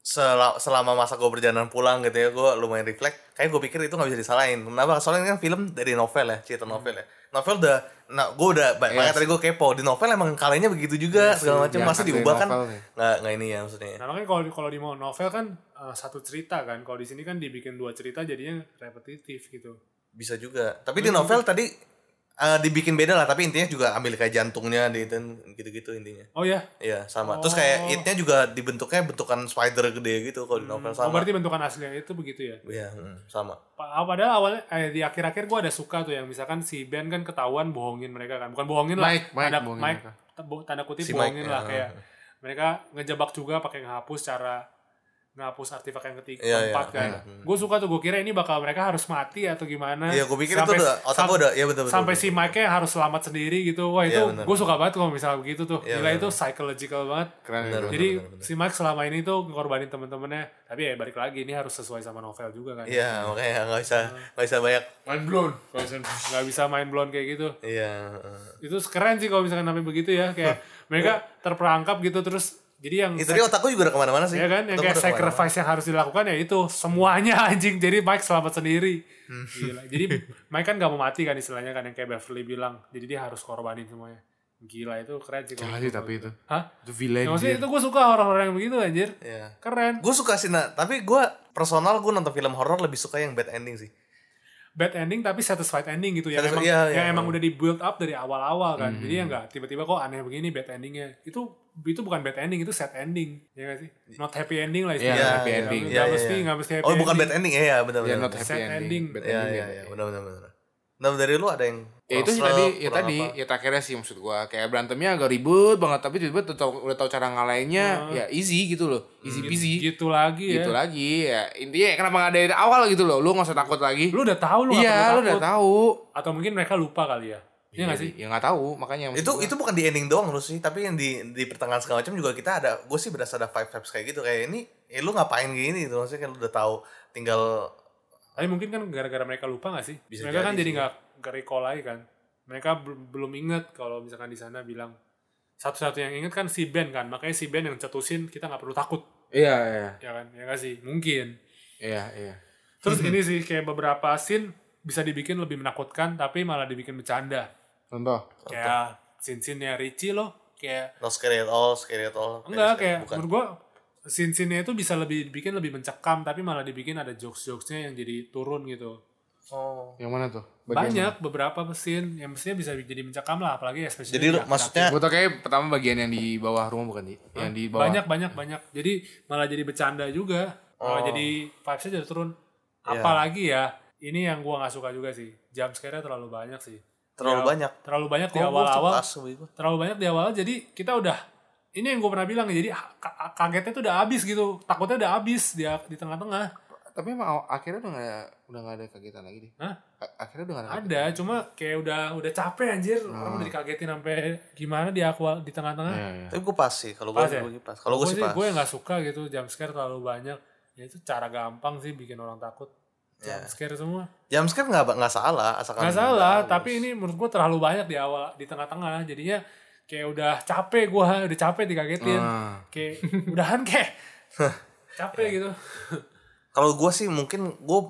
[SPEAKER 1] sel- selama masa gue berjalan pulang gitu ya, gue lumayan reflect. Kayak gue pikir itu nggak bisa disalahin. Kenapa? Soalnya ini kan film dari novel ya, cerita novel ya. Novel udah, nah gue udah banyak banget tadi gue kepo di novel emang kalanya begitu juga segala macam
[SPEAKER 3] Iya,
[SPEAKER 1] masih
[SPEAKER 3] dari
[SPEAKER 1] diubah kan
[SPEAKER 3] novel ya.
[SPEAKER 1] nggak nggak ini ya maksudnya.
[SPEAKER 2] nah makanya kalau kalau di mau novel kan eh, satu cerita kan kalau di sini kan dibikin dua cerita jadinya repetitif gitu
[SPEAKER 3] gitu.
[SPEAKER 1] Bisa juga. Tapi di novel tadi eh, dibikin beda lah tapi intinya juga ambil kayak jantungnya di dan gitu-gitu intinya
[SPEAKER 2] Oh ya.
[SPEAKER 1] Iya sama. Terus
[SPEAKER 3] Oh.
[SPEAKER 1] kayak itnya juga dibentuknya bentukan spider gede gitu kalau di novel
[SPEAKER 3] Hmm.
[SPEAKER 2] Oh,
[SPEAKER 1] sama.
[SPEAKER 2] berarti bentukan aslinya itu begitu ya.
[SPEAKER 1] Iya hmm, sama.
[SPEAKER 2] Pa- Padahal awalnya eh, di akhir-akhir gue ada suka tuh yang misalkan si Ben kan ketahuan bohongin mereka kan. Bukan bohongin lah.
[SPEAKER 3] Mike, Mike
[SPEAKER 2] tanda,
[SPEAKER 3] bohongin
[SPEAKER 2] Mike,
[SPEAKER 3] mereka. eh.
[SPEAKER 2] t- bo- tanda kutip
[SPEAKER 1] Si Mike,
[SPEAKER 2] bohongin lah
[SPEAKER 1] ya.
[SPEAKER 2] kayak mereka ngejebak juga pakai ngehapus cara ngehapus artefak yang ketiga
[SPEAKER 1] Iya,
[SPEAKER 2] keempat
[SPEAKER 1] iya,
[SPEAKER 2] kan. Gue suka tuh gue kira ini bakal mereka harus mati atau gimana.
[SPEAKER 1] Iya, gua pikir
[SPEAKER 2] Sampai-
[SPEAKER 1] itu udah- otak
[SPEAKER 2] sam-
[SPEAKER 1] gua udah- iya, betul, betul,
[SPEAKER 2] Sampai
[SPEAKER 1] betul.
[SPEAKER 2] si Mike-nya harus selamat sendiri gitu. Wah itu
[SPEAKER 1] Iya, benar.
[SPEAKER 2] gue suka banget kalau misalnya begitu tuh.
[SPEAKER 1] Iya,
[SPEAKER 2] Gila
[SPEAKER 1] benar. Iya,
[SPEAKER 2] itu psychological banget.
[SPEAKER 3] Keren ya,
[SPEAKER 1] Bener,
[SPEAKER 3] bro.
[SPEAKER 1] bener,
[SPEAKER 2] Jadi
[SPEAKER 1] bener, bener.
[SPEAKER 2] si Mike selama ini tuh ngorbanin temen-temennya. Tapi ya balik lagi ini harus sesuai sama novel juga kan.
[SPEAKER 1] Iya makanya nggak
[SPEAKER 3] Oh.
[SPEAKER 1] bisa nggak bisa banyak.
[SPEAKER 3] Mind blown. Kalau misalnya-
[SPEAKER 2] nggak bisa main blown kayak gitu
[SPEAKER 1] Iya. eh.
[SPEAKER 2] itu keren sih kalau misalkan sampai begitu ya kayak mereka terperangkap gitu terus jadi yang
[SPEAKER 1] Itu dia otakku juga udah kemana-mana
[SPEAKER 3] Iya
[SPEAKER 1] sih.
[SPEAKER 2] ya kan yang
[SPEAKER 1] Otakku
[SPEAKER 2] kayak
[SPEAKER 1] udah kemana-mana.
[SPEAKER 2] sacrifice yang harus dilakukan ya itu semuanya anjing jadi Mike selamat sendiri
[SPEAKER 1] Hmm.
[SPEAKER 2] gila jadi Mike kan gak mau mati kan istilahnya kan yang kayak Beverly bilang jadi dia harus korbanin semuanya gila itu keren sih kalau
[SPEAKER 3] Jangan sih
[SPEAKER 2] menurut
[SPEAKER 3] tapi
[SPEAKER 2] gua.
[SPEAKER 3] itu.
[SPEAKER 2] hah
[SPEAKER 3] Itu villain.
[SPEAKER 2] Ya, maksudnya
[SPEAKER 3] dia.
[SPEAKER 2] itu gue suka orang-orang yang begitu anjir
[SPEAKER 1] Iya.
[SPEAKER 2] keren
[SPEAKER 1] Gue suka sih nah, tapi gue personal gue nonton film horor lebih suka yang bad ending sih.
[SPEAKER 2] bad ending tapi satisfied ending gitu yang
[SPEAKER 1] Satisfied-
[SPEAKER 2] emang
[SPEAKER 1] iya, iya.
[SPEAKER 2] yang emang udah di build up dari awal-awal kan jadi ya nggak tiba-tiba kok aneh begini bad endingnya itu itu bukan bad ending itu sad ending ya nggak sih not happy ending lah
[SPEAKER 3] Iya,
[SPEAKER 2] istilahnya
[SPEAKER 3] happy
[SPEAKER 2] Nggak-
[SPEAKER 3] ending.
[SPEAKER 2] nggak
[SPEAKER 1] Iya, iya,
[SPEAKER 2] mesti
[SPEAKER 1] iya.
[SPEAKER 2] nggak mesti happy
[SPEAKER 1] Oh bukan bad ending ya, ya benar
[SPEAKER 3] Ya
[SPEAKER 1] benar.
[SPEAKER 3] not
[SPEAKER 1] benar.
[SPEAKER 3] happy
[SPEAKER 2] Sad
[SPEAKER 3] ending.
[SPEAKER 2] ending.
[SPEAKER 3] Bad
[SPEAKER 1] Iya iya
[SPEAKER 3] ending, bad
[SPEAKER 1] iya
[SPEAKER 3] ending.
[SPEAKER 1] benar benar benar. Nah dari lu ada yang
[SPEAKER 3] Ya itu sih
[SPEAKER 1] kurang
[SPEAKER 3] tadi,
[SPEAKER 1] serap,
[SPEAKER 3] ya
[SPEAKER 1] kurang
[SPEAKER 3] tadi,
[SPEAKER 1] apa?
[SPEAKER 3] ya akhirnya sih maksud gua kayak berantemnya agak ribut banget tapi tiba-tiba udah tau, udah tahu cara ngalahinnya ya easy gitu loh, easy peasy. Gitu,
[SPEAKER 2] Nah. gitu lagi ya
[SPEAKER 3] lagi ya intinya kenapa nggak dari awal gitu loh, lu nggak usah takut lagi.
[SPEAKER 2] lu udah tahu lu nggak
[SPEAKER 3] iya,
[SPEAKER 2] perlu
[SPEAKER 3] lu udah
[SPEAKER 2] takut.
[SPEAKER 3] tahu.
[SPEAKER 2] atau mungkin mereka lupa kali ya Iya nggak sih
[SPEAKER 3] Ya nggak tahu makanya. maksud
[SPEAKER 1] itu
[SPEAKER 3] gua.
[SPEAKER 1] itu bukan di ending doang lu sih tapi yang di di pertengahan segala macam juga kita ada gue sih berasa ada vibe vibes kayak gitu kayak ini eh, lu ngapain gini gitu maksudnya kan lu udah tahu tinggal
[SPEAKER 2] tapi mungkin kan gara-gara mereka lupa nggak sih
[SPEAKER 1] Bisa
[SPEAKER 2] mereka kan
[SPEAKER 1] jadi
[SPEAKER 2] jadi
[SPEAKER 1] sih.
[SPEAKER 2] nggak nggak recall lagi kan mereka bel- belum inget kalau misalkan di sana bilang satu-satu yang inget kan si Ben kan makanya si Ben yang cetusin kita nggak perlu takut
[SPEAKER 3] Iya, iya.
[SPEAKER 2] ya kan ya nggak sih mungkin
[SPEAKER 3] Iya, iya.
[SPEAKER 2] Terus
[SPEAKER 1] Mhm.
[SPEAKER 2] ini sih kayak beberapa scene bisa dibikin lebih menakutkan tapi malah dibikin bercanda.
[SPEAKER 3] Contoh.
[SPEAKER 2] Kayak scene-scene-nya Richie loh, kayak
[SPEAKER 1] no scary at all scary at all gitu.
[SPEAKER 2] enggak kayak
[SPEAKER 1] bukan
[SPEAKER 2] menurut gua scene-scene-nya itu bisa lebih dibikin lebih mencekam tapi malah dibikin ada jokes-jokesnya yang jadi turun gitu.
[SPEAKER 1] Oh.
[SPEAKER 3] Yang mana tuh?
[SPEAKER 2] Banyak beberapa scene yang mestinya bisa jadi mencekam lah apalagi especially
[SPEAKER 1] jadi lu- maksudnya
[SPEAKER 3] Gue tau kayak pertama bagian yang di bawah rumah bukan di, yang di bawah.
[SPEAKER 2] banyak banyak banyak. Jadi malah jadi bercanda juga. Malah
[SPEAKER 1] Oh.
[SPEAKER 2] jadi vibes-nya jadi turun.
[SPEAKER 1] Iya.
[SPEAKER 2] Apalagi ya ini yang gua nggak suka juga sih. Jump scare-nya terlalu banyak sih.
[SPEAKER 1] terlalu
[SPEAKER 2] Ya,
[SPEAKER 1] banyak Oh,
[SPEAKER 2] Terlalu banyak di
[SPEAKER 1] Gua- gua
[SPEAKER 2] awal-awal.
[SPEAKER 1] cepat sama gua.
[SPEAKER 2] terlalu banyak di awal jadi kita udah ini yang gue pernah bilang ya, jadi ka- kagetnya tuh udah habis gitu takutnya udah habis dia di tengah-tengah
[SPEAKER 3] Tapi emang aw- akhirnya udah gak ada, udah gak ada kegiatan lagi deh.
[SPEAKER 2] Hah?
[SPEAKER 3] A- akhirnya udah gak ada. kegiatan.
[SPEAKER 2] ada cuma kayak udah udah capek anjir
[SPEAKER 1] Ah.
[SPEAKER 2] orang udah dikagetin sampai gimana di awal di tengah-tengah
[SPEAKER 3] Iya, iya.
[SPEAKER 1] tapi gue pas sih kalau gue
[SPEAKER 2] Pas ya?
[SPEAKER 1] gue pas kalau gue
[SPEAKER 2] gue
[SPEAKER 1] sih pas
[SPEAKER 2] gue nggak suka gitu jump scare terlalu banyak ya itu cara gampang sih bikin orang takut
[SPEAKER 1] Iya.
[SPEAKER 2] jump scare semua
[SPEAKER 1] jam scare nggak nggak salah asalkan
[SPEAKER 2] nggak salah tapi ini menurut gue terlalu banyak di awal di tengah-tengah jadinya kayak udah capek gue udah capek dikagetin
[SPEAKER 1] Hmm.
[SPEAKER 3] Ah.
[SPEAKER 2] kayak udahan kayak capek gitu
[SPEAKER 1] kalau gue sih mungkin gue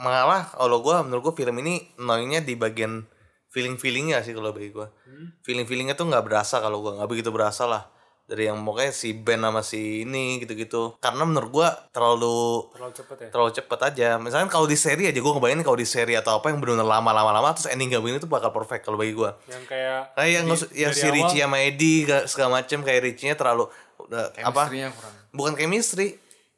[SPEAKER 1] malah kalau gue menurut gue film ini annoyingnya di bagian feeling feelingnya sih kalau bagi gue
[SPEAKER 2] Hmm.
[SPEAKER 1] feeling feelingnya tuh nggak berasa kalau gue nggak begitu berasa lah dari yang pokoknya si Ben sama si ini gitu-gitu karena menurut gue terlalu
[SPEAKER 2] terlalu cepet ya
[SPEAKER 1] terlalu cepet aja misalnya kalau di seri aja gue ngebayangin kalau di seri atau apa yang benar lama-lama lama terus ending gak begini tuh bakal perfect kalau bagi gue
[SPEAKER 2] yang kayak
[SPEAKER 1] kayak Ah, yang,
[SPEAKER 2] Jadi,
[SPEAKER 1] yang
[SPEAKER 2] dari
[SPEAKER 1] si
[SPEAKER 2] awal-
[SPEAKER 1] Richie sama Eddie ga- segala macem kayak Richie-nya terlalu udah, apa
[SPEAKER 3] Chemistry-nya kurang.
[SPEAKER 1] bukan chemistry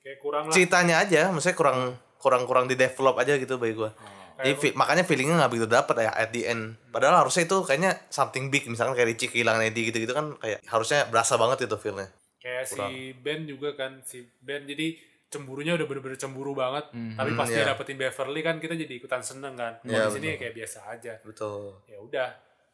[SPEAKER 2] kayak kurang lah
[SPEAKER 1] ceritanya aja maksudnya kurang kurang kurang di develop aja gitu bagi
[SPEAKER 2] Oh.
[SPEAKER 1] gue jadi fi- makanya feelingnya nggak begitu dapet ya at the end padahal harusnya itu kayaknya something big misalkan kayak Richie kehilangan Eddie gitu gitu kan kayak harusnya berasa banget itu feelnya
[SPEAKER 2] kayak si Ben juga kan si Ben jadi cemburunya udah bener-bener cemburu banget tapi
[SPEAKER 1] Hmm,
[SPEAKER 2] pas
[SPEAKER 1] iya.
[SPEAKER 2] dia dapetin Beverly kan kita jadi ikutan seneng kan kalau di sini ya kayak biasa aja
[SPEAKER 1] betul
[SPEAKER 2] ya udah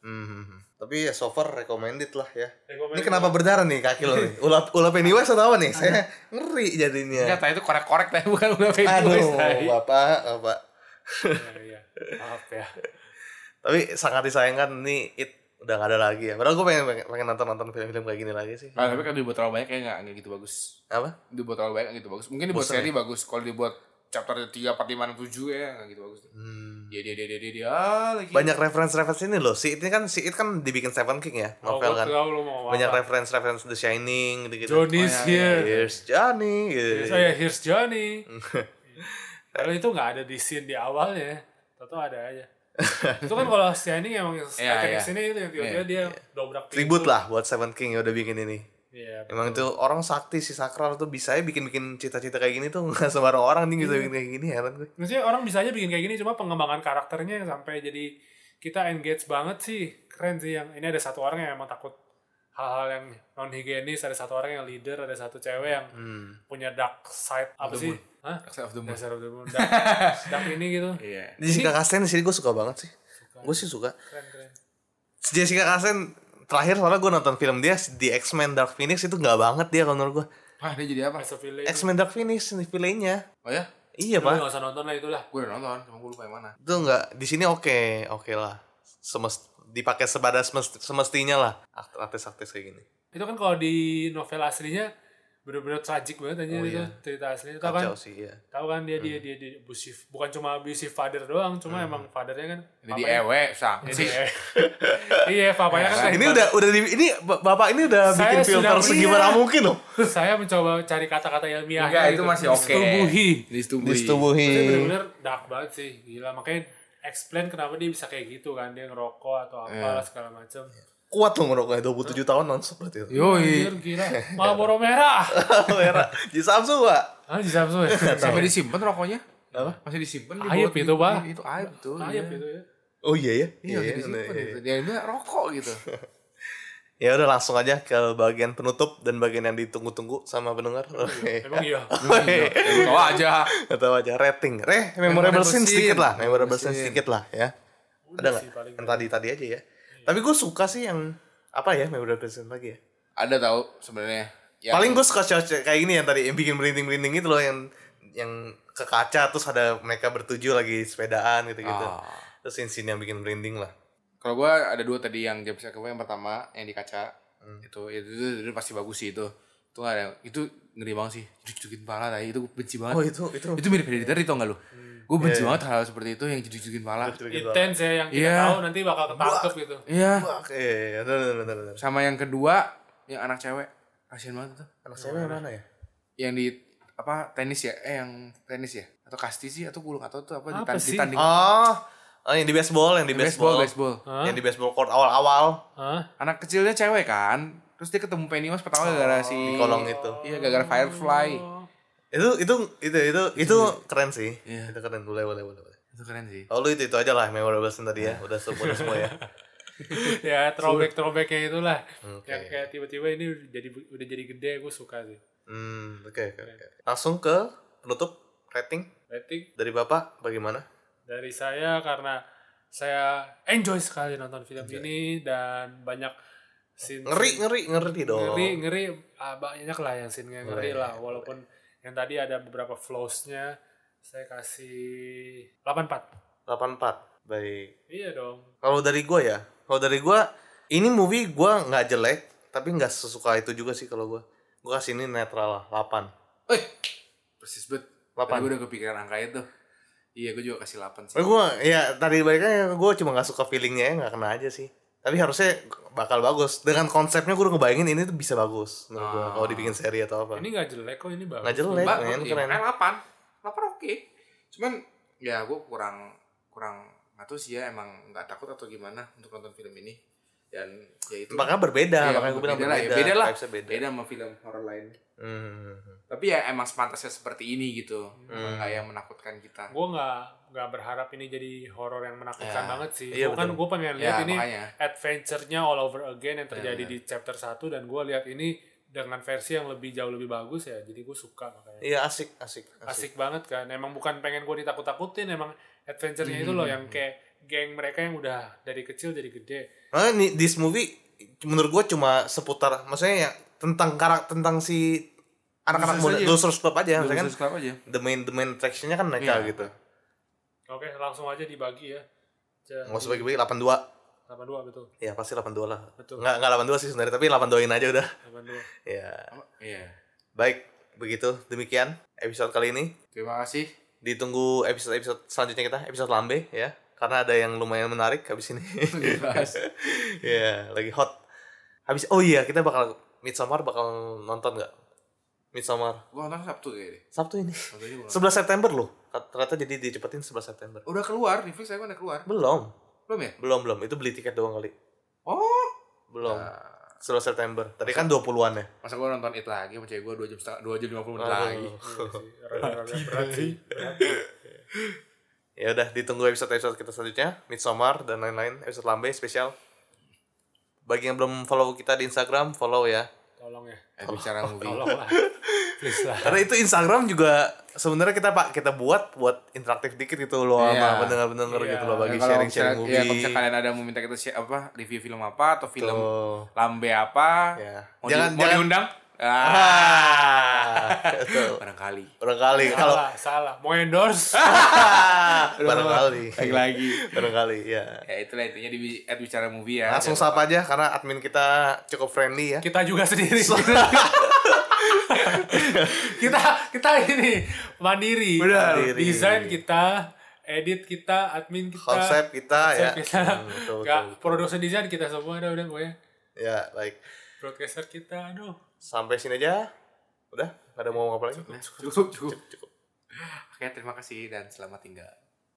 [SPEAKER 1] Mhm. tapi ya so far recommended lah ya ini
[SPEAKER 2] Recommended
[SPEAKER 1] kenapa berdarah nih kaki lo nih ulap ulap Pennywise atau apa nih saya ngeri
[SPEAKER 3] Enggak,
[SPEAKER 1] jadinya
[SPEAKER 3] tadi itu korek-korek tapi bukan udah Pennywise
[SPEAKER 1] aduh
[SPEAKER 3] tadi.
[SPEAKER 1] bapak bapak
[SPEAKER 2] ya, ya. Iya, maaf ya
[SPEAKER 1] tapi sangat disayangkan nih it udah gak ada lagi ya padahal gue pengen pengen, nonton nonton film-film kayak gini lagi sih
[SPEAKER 3] Nah, tapi kalau dibuat terlalu banyak kayak nggak nggak gitu bagus.
[SPEAKER 1] apa
[SPEAKER 3] Dibuat terlalu banyak nggak gitu bagus. Mungkin dibuat seri bagus. Kalau dibuat chapter 3, 4, 5, 6, 7 ya nggak gitu bagus. Dia, dia, dia, dia, dia, dia, ah, lagi.
[SPEAKER 2] Iya.
[SPEAKER 1] banyak reference-reference ini loh. Si It ini kan si It kan dibikin Seven King ya,
[SPEAKER 2] Oh,
[SPEAKER 1] novel
[SPEAKER 2] gua
[SPEAKER 1] kan.
[SPEAKER 2] tahu lo mau ngomong
[SPEAKER 1] Banyak Iya,
[SPEAKER 2] apa.
[SPEAKER 1] reference-reference The Shining gitu-gitu.
[SPEAKER 2] Johnny's here
[SPEAKER 1] Here's Johnny. Gitu.
[SPEAKER 3] Iya,
[SPEAKER 2] Terus, oh ya here's Johnny Padahal itu nggak ya. ada di scene di awalnya Tau-tau ada aja itu kan kalau Shining emang Striker
[SPEAKER 3] iya.
[SPEAKER 2] X ini itu yang tiba-tiba dia dobrak pintu.
[SPEAKER 1] Tribut lah buat Seven King yang udah bikin ini.
[SPEAKER 2] Iya.
[SPEAKER 1] Emang itu orang sakti si sakral tuh bisa ya bikin-bikin cita-cita kayak gini tuh nggak sembarang orang nih
[SPEAKER 2] Iya.
[SPEAKER 1] bisa bikin kayak gini heran gue.
[SPEAKER 2] Maksudnya orang bisa aja bikin kayak gini cuma pengembangan karakternya yang sampai jadi kita engage banget sih. Keren sih yang ini ada satu orang yang emang takut hal-hal yang non higienis, ada satu orang yang leader, ada satu cewek yang
[SPEAKER 3] Hmm.
[SPEAKER 2] punya dark side apa sih? Hah?
[SPEAKER 3] Dark side of the moon.
[SPEAKER 2] Dark side of the moon. Dark, dark ini gitu.
[SPEAKER 3] Iya.
[SPEAKER 1] Jessica Chastain di sini gue suka banget sih. Gue sih suka.
[SPEAKER 2] Keren keren.
[SPEAKER 1] Jessica Chastain terakhir soalnya gue nonton film dia di X-Men Dark Phoenix itu nggak banget dia kalau menurut gue.
[SPEAKER 3] Hah, dia jadi apa?
[SPEAKER 2] Master Villain.
[SPEAKER 1] X-Men Dark Phoenix nih villainnya.
[SPEAKER 3] Oh ya?
[SPEAKER 1] Iya
[SPEAKER 2] Lu
[SPEAKER 1] pak.
[SPEAKER 2] nggak usah nonton lah itulah.
[SPEAKER 3] Gue udah nonton, cuma gue lupa yang mana.
[SPEAKER 1] Itu nggak di sini oke oke lah. Semest dipakai sebadas semest- semestinya lah Akt- artis-artis kayak gini.
[SPEAKER 2] Itu kan kalau di novel aslinya bener-bener tragic banget aja
[SPEAKER 1] Oh,
[SPEAKER 2] itu
[SPEAKER 1] iya.
[SPEAKER 2] cerita aslinya. Itu kan
[SPEAKER 1] Kacau sih ya.
[SPEAKER 2] tahu kan dia dia dia, dia abusive bukan cuma abusive father doang cuma emang fathernya kan
[SPEAKER 3] Ini di
[SPEAKER 2] papanya-
[SPEAKER 3] ewe, sang.
[SPEAKER 2] Jadi ewe. iya papanya kan
[SPEAKER 1] Ini udah udah di, ini b- bapak ini udah
[SPEAKER 2] Saya
[SPEAKER 1] bikin filter
[SPEAKER 2] sudah-
[SPEAKER 1] segimana
[SPEAKER 2] iya.
[SPEAKER 1] mungkin loh.
[SPEAKER 2] saya mencoba cari kata-kata ilmiah gitu.
[SPEAKER 3] Enggak, itu masih oke.
[SPEAKER 2] disetubuhi
[SPEAKER 3] Disetubuhi.
[SPEAKER 1] Disetubuhi.
[SPEAKER 2] bener-bener dark banget sih gila makanya explain kenapa dia bisa kayak gitu kan dia ngerokok atau apalah segala macam
[SPEAKER 1] Kuat loh ngerokoknya 27 tahun nonstop berarti. itu.
[SPEAKER 3] Yoi.
[SPEAKER 2] Anjir, gila Marlboro merah
[SPEAKER 1] Merah. Di Samsung pak.
[SPEAKER 2] ah di Samsung ya
[SPEAKER 3] Sampai disimpan rokoknya. Apa? Masih disimpan di
[SPEAKER 2] Aib
[SPEAKER 3] bawah-
[SPEAKER 2] itu, Pak.
[SPEAKER 3] Itu aib tuh.
[SPEAKER 2] Ayap itu ya
[SPEAKER 1] Oh iya ya.
[SPEAKER 3] Iya, masih disimpan
[SPEAKER 1] iya,
[SPEAKER 3] gitu.
[SPEAKER 1] iya.
[SPEAKER 3] Dia bilang rokok gitu.
[SPEAKER 1] Ya udah langsung aja ke bagian penutup dan bagian yang ditunggu-tunggu sama pendengar. Oke.
[SPEAKER 2] emang iya
[SPEAKER 3] Eh, Tahu aja.
[SPEAKER 1] Nggak tahu aja rating. Reh, memorable
[SPEAKER 3] Memorable
[SPEAKER 1] scene
[SPEAKER 3] scene.
[SPEAKER 1] sedikit lah, memorable
[SPEAKER 3] Memorable
[SPEAKER 1] scene
[SPEAKER 3] scene.
[SPEAKER 1] sedikit lah ya. Ada nggak?
[SPEAKER 2] sih paling.
[SPEAKER 1] Yang tadi tadi aja ya. Tapi gue suka sih yang apa ya memorable scene lagi ya.
[SPEAKER 3] Ada tahu sebenarnya. Ya, Yang-
[SPEAKER 1] Paling gue suka cewek kayak gini yang tadi yang bikin merinding-merinding itu loh yang yang ke kaca terus ada mereka bertuju lagi sepedaan gitu-gitu.
[SPEAKER 3] Ah.
[SPEAKER 1] Terus scene yang bikin merinding lah.
[SPEAKER 3] Kalau gue ada dua tadi yang James Cameron yang pertama yang di kaca itu, itu, itu itu pasti bagus sih itu. Itu nggak ada itu ngeri banget sih. Cucukin pala tadi itu gua benci banget.
[SPEAKER 1] Oh, itu- itu-
[SPEAKER 3] itu Hmm. Iya, mirip Hereditary tau gak lu? Gue benci banget hal, seperti itu yang cucukin pala.
[SPEAKER 1] gitu
[SPEAKER 2] intens ya yang kita
[SPEAKER 3] Iya.
[SPEAKER 2] tahu nanti bakal ketangkep gitu
[SPEAKER 3] Iya.
[SPEAKER 1] Fuck, iya, iya, iya, bener, bener, bener, bener.
[SPEAKER 3] Sama yang kedua yang anak cewek kasian banget tuh.
[SPEAKER 1] Anak saya yang mana ya?
[SPEAKER 3] Yang di apa tenis ya? Eh yang tenis ya? Atau kasti sih atau gulung atau tuh apa,
[SPEAKER 2] Apa
[SPEAKER 3] ditan-
[SPEAKER 2] sih?
[SPEAKER 3] ditanding.
[SPEAKER 1] Oh, oh, yang di baseball, yang di
[SPEAKER 3] baseball,
[SPEAKER 1] baseball,
[SPEAKER 3] baseball.
[SPEAKER 2] Oh.
[SPEAKER 1] Yang di baseball court awal-awal.
[SPEAKER 2] Hah?
[SPEAKER 3] Anak kecilnya cewek kan. Terus dia ketemu Pennywise pertama
[SPEAKER 2] Oh,
[SPEAKER 3] gara-gara si
[SPEAKER 1] di kolong itu.
[SPEAKER 3] Iya, gara-gara Firefly.
[SPEAKER 1] Itu itu itu itu itu keren sih. Itu keren boleh boleh boleh. boleh.
[SPEAKER 3] Itu keren sih.
[SPEAKER 1] Oh, lu itu itu aja lah memorable scene tadi ya. Udah semua udah semua ya.
[SPEAKER 2] ya throwback throwbacknya itulah yang kayak tiba-tiba ini udah jadi udah jadi gede gue suka sih
[SPEAKER 1] Hmm, oke oke oke. Langsung ke penutup rating
[SPEAKER 2] rating
[SPEAKER 1] dari Bapak bagaimana?
[SPEAKER 2] dari saya karena saya enjoy sekali nonton film ini dan banyak scene
[SPEAKER 1] Ngeri ngeri ngeri dong.
[SPEAKER 2] ngeri ngeri ah, banyak lah yang scene ngeri lah walaupun yang tadi ada beberapa flowsnya saya kasih 84
[SPEAKER 1] 84. Baik.
[SPEAKER 2] iya dong
[SPEAKER 1] Kalau dari gue ya, kalau dari gue ini movie gue nggak jelek, tapi nggak sesuka itu juga sih kalau gue. Gue kasih ini netral lah, 8.
[SPEAKER 3] Eh, persis bet.
[SPEAKER 1] Lapan.
[SPEAKER 3] Tadi gue udah kepikiran angka itu. Iya, gue juga kasih 8 sih.
[SPEAKER 1] Gue ya tadi baiknya gue cuma nggak suka feelingnya ya nggak kena aja sih. Tapi harusnya bakal bagus. Dengan konsepnya gue udah ngebayangin ini tuh bisa bagus. Menurut gua,
[SPEAKER 3] Ah.
[SPEAKER 1] kalau dibikin seri atau apa.
[SPEAKER 2] ini nggak jelek kok ini bagus
[SPEAKER 1] Nggak jelek,
[SPEAKER 3] Mbak,
[SPEAKER 1] men,
[SPEAKER 3] iya,
[SPEAKER 1] keren.
[SPEAKER 3] makanya 8. 8 oke. Cuman ya gue kurang kurang nggak tahu sih ya emang nggak takut atau gimana untuk nonton film ini. Dan ya itu.
[SPEAKER 1] Makanya berbeda,
[SPEAKER 3] Iya,
[SPEAKER 1] makanya gue bilang
[SPEAKER 3] beda lah, ya,
[SPEAKER 1] berbeda.
[SPEAKER 3] beda lah.
[SPEAKER 1] vibes-nya beda.
[SPEAKER 3] Beda sama film horor lain.
[SPEAKER 1] Hmm.
[SPEAKER 3] Tapi ya emang sepantasnya seperti ini gitu. Emang nggak yang menakutkan kita.
[SPEAKER 2] gue nggak nggak berharap ini jadi horor yang menakutkan
[SPEAKER 3] Ya.
[SPEAKER 2] banget sih.
[SPEAKER 1] Iya,
[SPEAKER 2] Bukan
[SPEAKER 1] betul. Ya,
[SPEAKER 2] gue pengen lihat
[SPEAKER 3] Ya,
[SPEAKER 2] ini
[SPEAKER 3] makanya.
[SPEAKER 2] adventure-nya all over again yang terjadi di chapter 1 dan gue lihat ini dengan versi yang lebih jauh lebih bagus ya. Jadi gue suka makanya.
[SPEAKER 1] Iya asik, asik, asik.
[SPEAKER 2] Asik banget kan. Emang bukan pengen gue ditakut-takutin, emang adventure-nya itu
[SPEAKER 1] Hmm,
[SPEAKER 2] loh yang kayak geng mereka yang udah dari kecil jadi gede.
[SPEAKER 1] Nah, ini this movie menurut gue cuma seputar, maksudnya ya tentang karakter tentang si anak-anak
[SPEAKER 3] Losers
[SPEAKER 1] muda,
[SPEAKER 3] aja.
[SPEAKER 1] losers club aja, maksudnya kan
[SPEAKER 3] Terus kenapa aja?
[SPEAKER 1] the main the main attraction-nya kan mereka
[SPEAKER 3] Iya.
[SPEAKER 1] gitu.
[SPEAKER 2] Oke, langsung aja dibagi ya. Jadi,
[SPEAKER 1] Nggak usah bagi-bagi 82.
[SPEAKER 2] 82 betul.
[SPEAKER 1] Ya pasti 82 lah.
[SPEAKER 2] Betul.
[SPEAKER 1] Nggak nggak 82 sih sebenarnya, tapi 82-in aja udah.
[SPEAKER 2] 82.
[SPEAKER 1] Ya.
[SPEAKER 3] Iya.
[SPEAKER 1] Baik, begitu demikian episode kali ini.
[SPEAKER 3] Terima kasih.
[SPEAKER 1] Ditunggu episode-episode selanjutnya kita, episode lambe ya. Karena ada yang lumayan menarik habis ini. ya, lagi hot. Habis oh iya, kita bakal Midsummer bakal nonton nggak? Midsommar.
[SPEAKER 3] Gua nonton Sabtu ya, kayaknya deh.
[SPEAKER 1] Sabtu ini.
[SPEAKER 3] Sabtu aja gua nonton.
[SPEAKER 1] 11 September loh. Kat- Ternyata jadi dicepetin 11 September.
[SPEAKER 3] Udah keluar, Netflix saya udah keluar.
[SPEAKER 1] Belum.
[SPEAKER 3] Belum ya?
[SPEAKER 1] Belum, belum. Itu beli tiket doang kali.
[SPEAKER 3] Oh.
[SPEAKER 1] Belum. 11 September. Tadi kan 20-an ya.
[SPEAKER 3] Masa gua nonton it lagi sama cewek gua 2 jam setengah, 2 jam 50 menit lagi.
[SPEAKER 2] Iya Rada-rada berat sih.
[SPEAKER 1] Ya udah, ditunggu episode-episode kita selanjutnya, Midsommar dan lain-lain, episode lambe spesial. Bagi yang belum follow kita di Instagram, follow ya.
[SPEAKER 2] Tolong ya.
[SPEAKER 3] Eh, bicara movie.
[SPEAKER 2] Tolong lah.
[SPEAKER 1] Iya.
[SPEAKER 2] Please lah.
[SPEAKER 1] Karena itu Instagram juga sebenarnya kita pak kita buat buat interaktif dikit gitu loh sama
[SPEAKER 3] Iya.
[SPEAKER 1] pendengar-pendengar
[SPEAKER 2] Iya.
[SPEAKER 1] gitu loh bagi
[SPEAKER 3] Ya, kalau
[SPEAKER 1] sharing-sharing
[SPEAKER 3] misalnya-
[SPEAKER 1] movie.
[SPEAKER 3] Ya, kalau misalnya kalian ada mau minta kita share, apa review film apa atau film
[SPEAKER 1] Tuh.
[SPEAKER 3] lambe apa,
[SPEAKER 1] Ya.
[SPEAKER 3] mau,
[SPEAKER 1] Jangan-
[SPEAKER 3] di, mau
[SPEAKER 1] jangan-
[SPEAKER 3] diundang? Ah,
[SPEAKER 1] Ah, betul.
[SPEAKER 3] barangkali.
[SPEAKER 1] barangkali
[SPEAKER 3] Iya.
[SPEAKER 1] kalau
[SPEAKER 2] Salah, salah. Mau endorse?
[SPEAKER 1] barangkali
[SPEAKER 3] lagi.
[SPEAKER 1] barangkali ya
[SPEAKER 3] ya itulah intinya di at bicara movie ya.
[SPEAKER 1] langsung
[SPEAKER 3] Jangan
[SPEAKER 1] sapa aja karena admin kita cukup friendly ya
[SPEAKER 2] kita juga sendiri. kita kita ini mandiri.
[SPEAKER 1] Benar. Mandiri.
[SPEAKER 2] Desain kita, edit kita, admin kita.
[SPEAKER 1] konsep kita
[SPEAKER 2] konsep
[SPEAKER 1] ya
[SPEAKER 2] kita.
[SPEAKER 1] Hmm, betul,
[SPEAKER 2] Nggak,
[SPEAKER 1] betul.
[SPEAKER 2] production design kita semua ada udah pokoknya.
[SPEAKER 1] ya baik
[SPEAKER 2] Broadcaster kita, aduh.
[SPEAKER 1] sampai sini aja udah nggak ada mau ngomong apa lagi
[SPEAKER 3] lupa. Cukup, cukup. Oke, terima kasih dan selamat tinggal.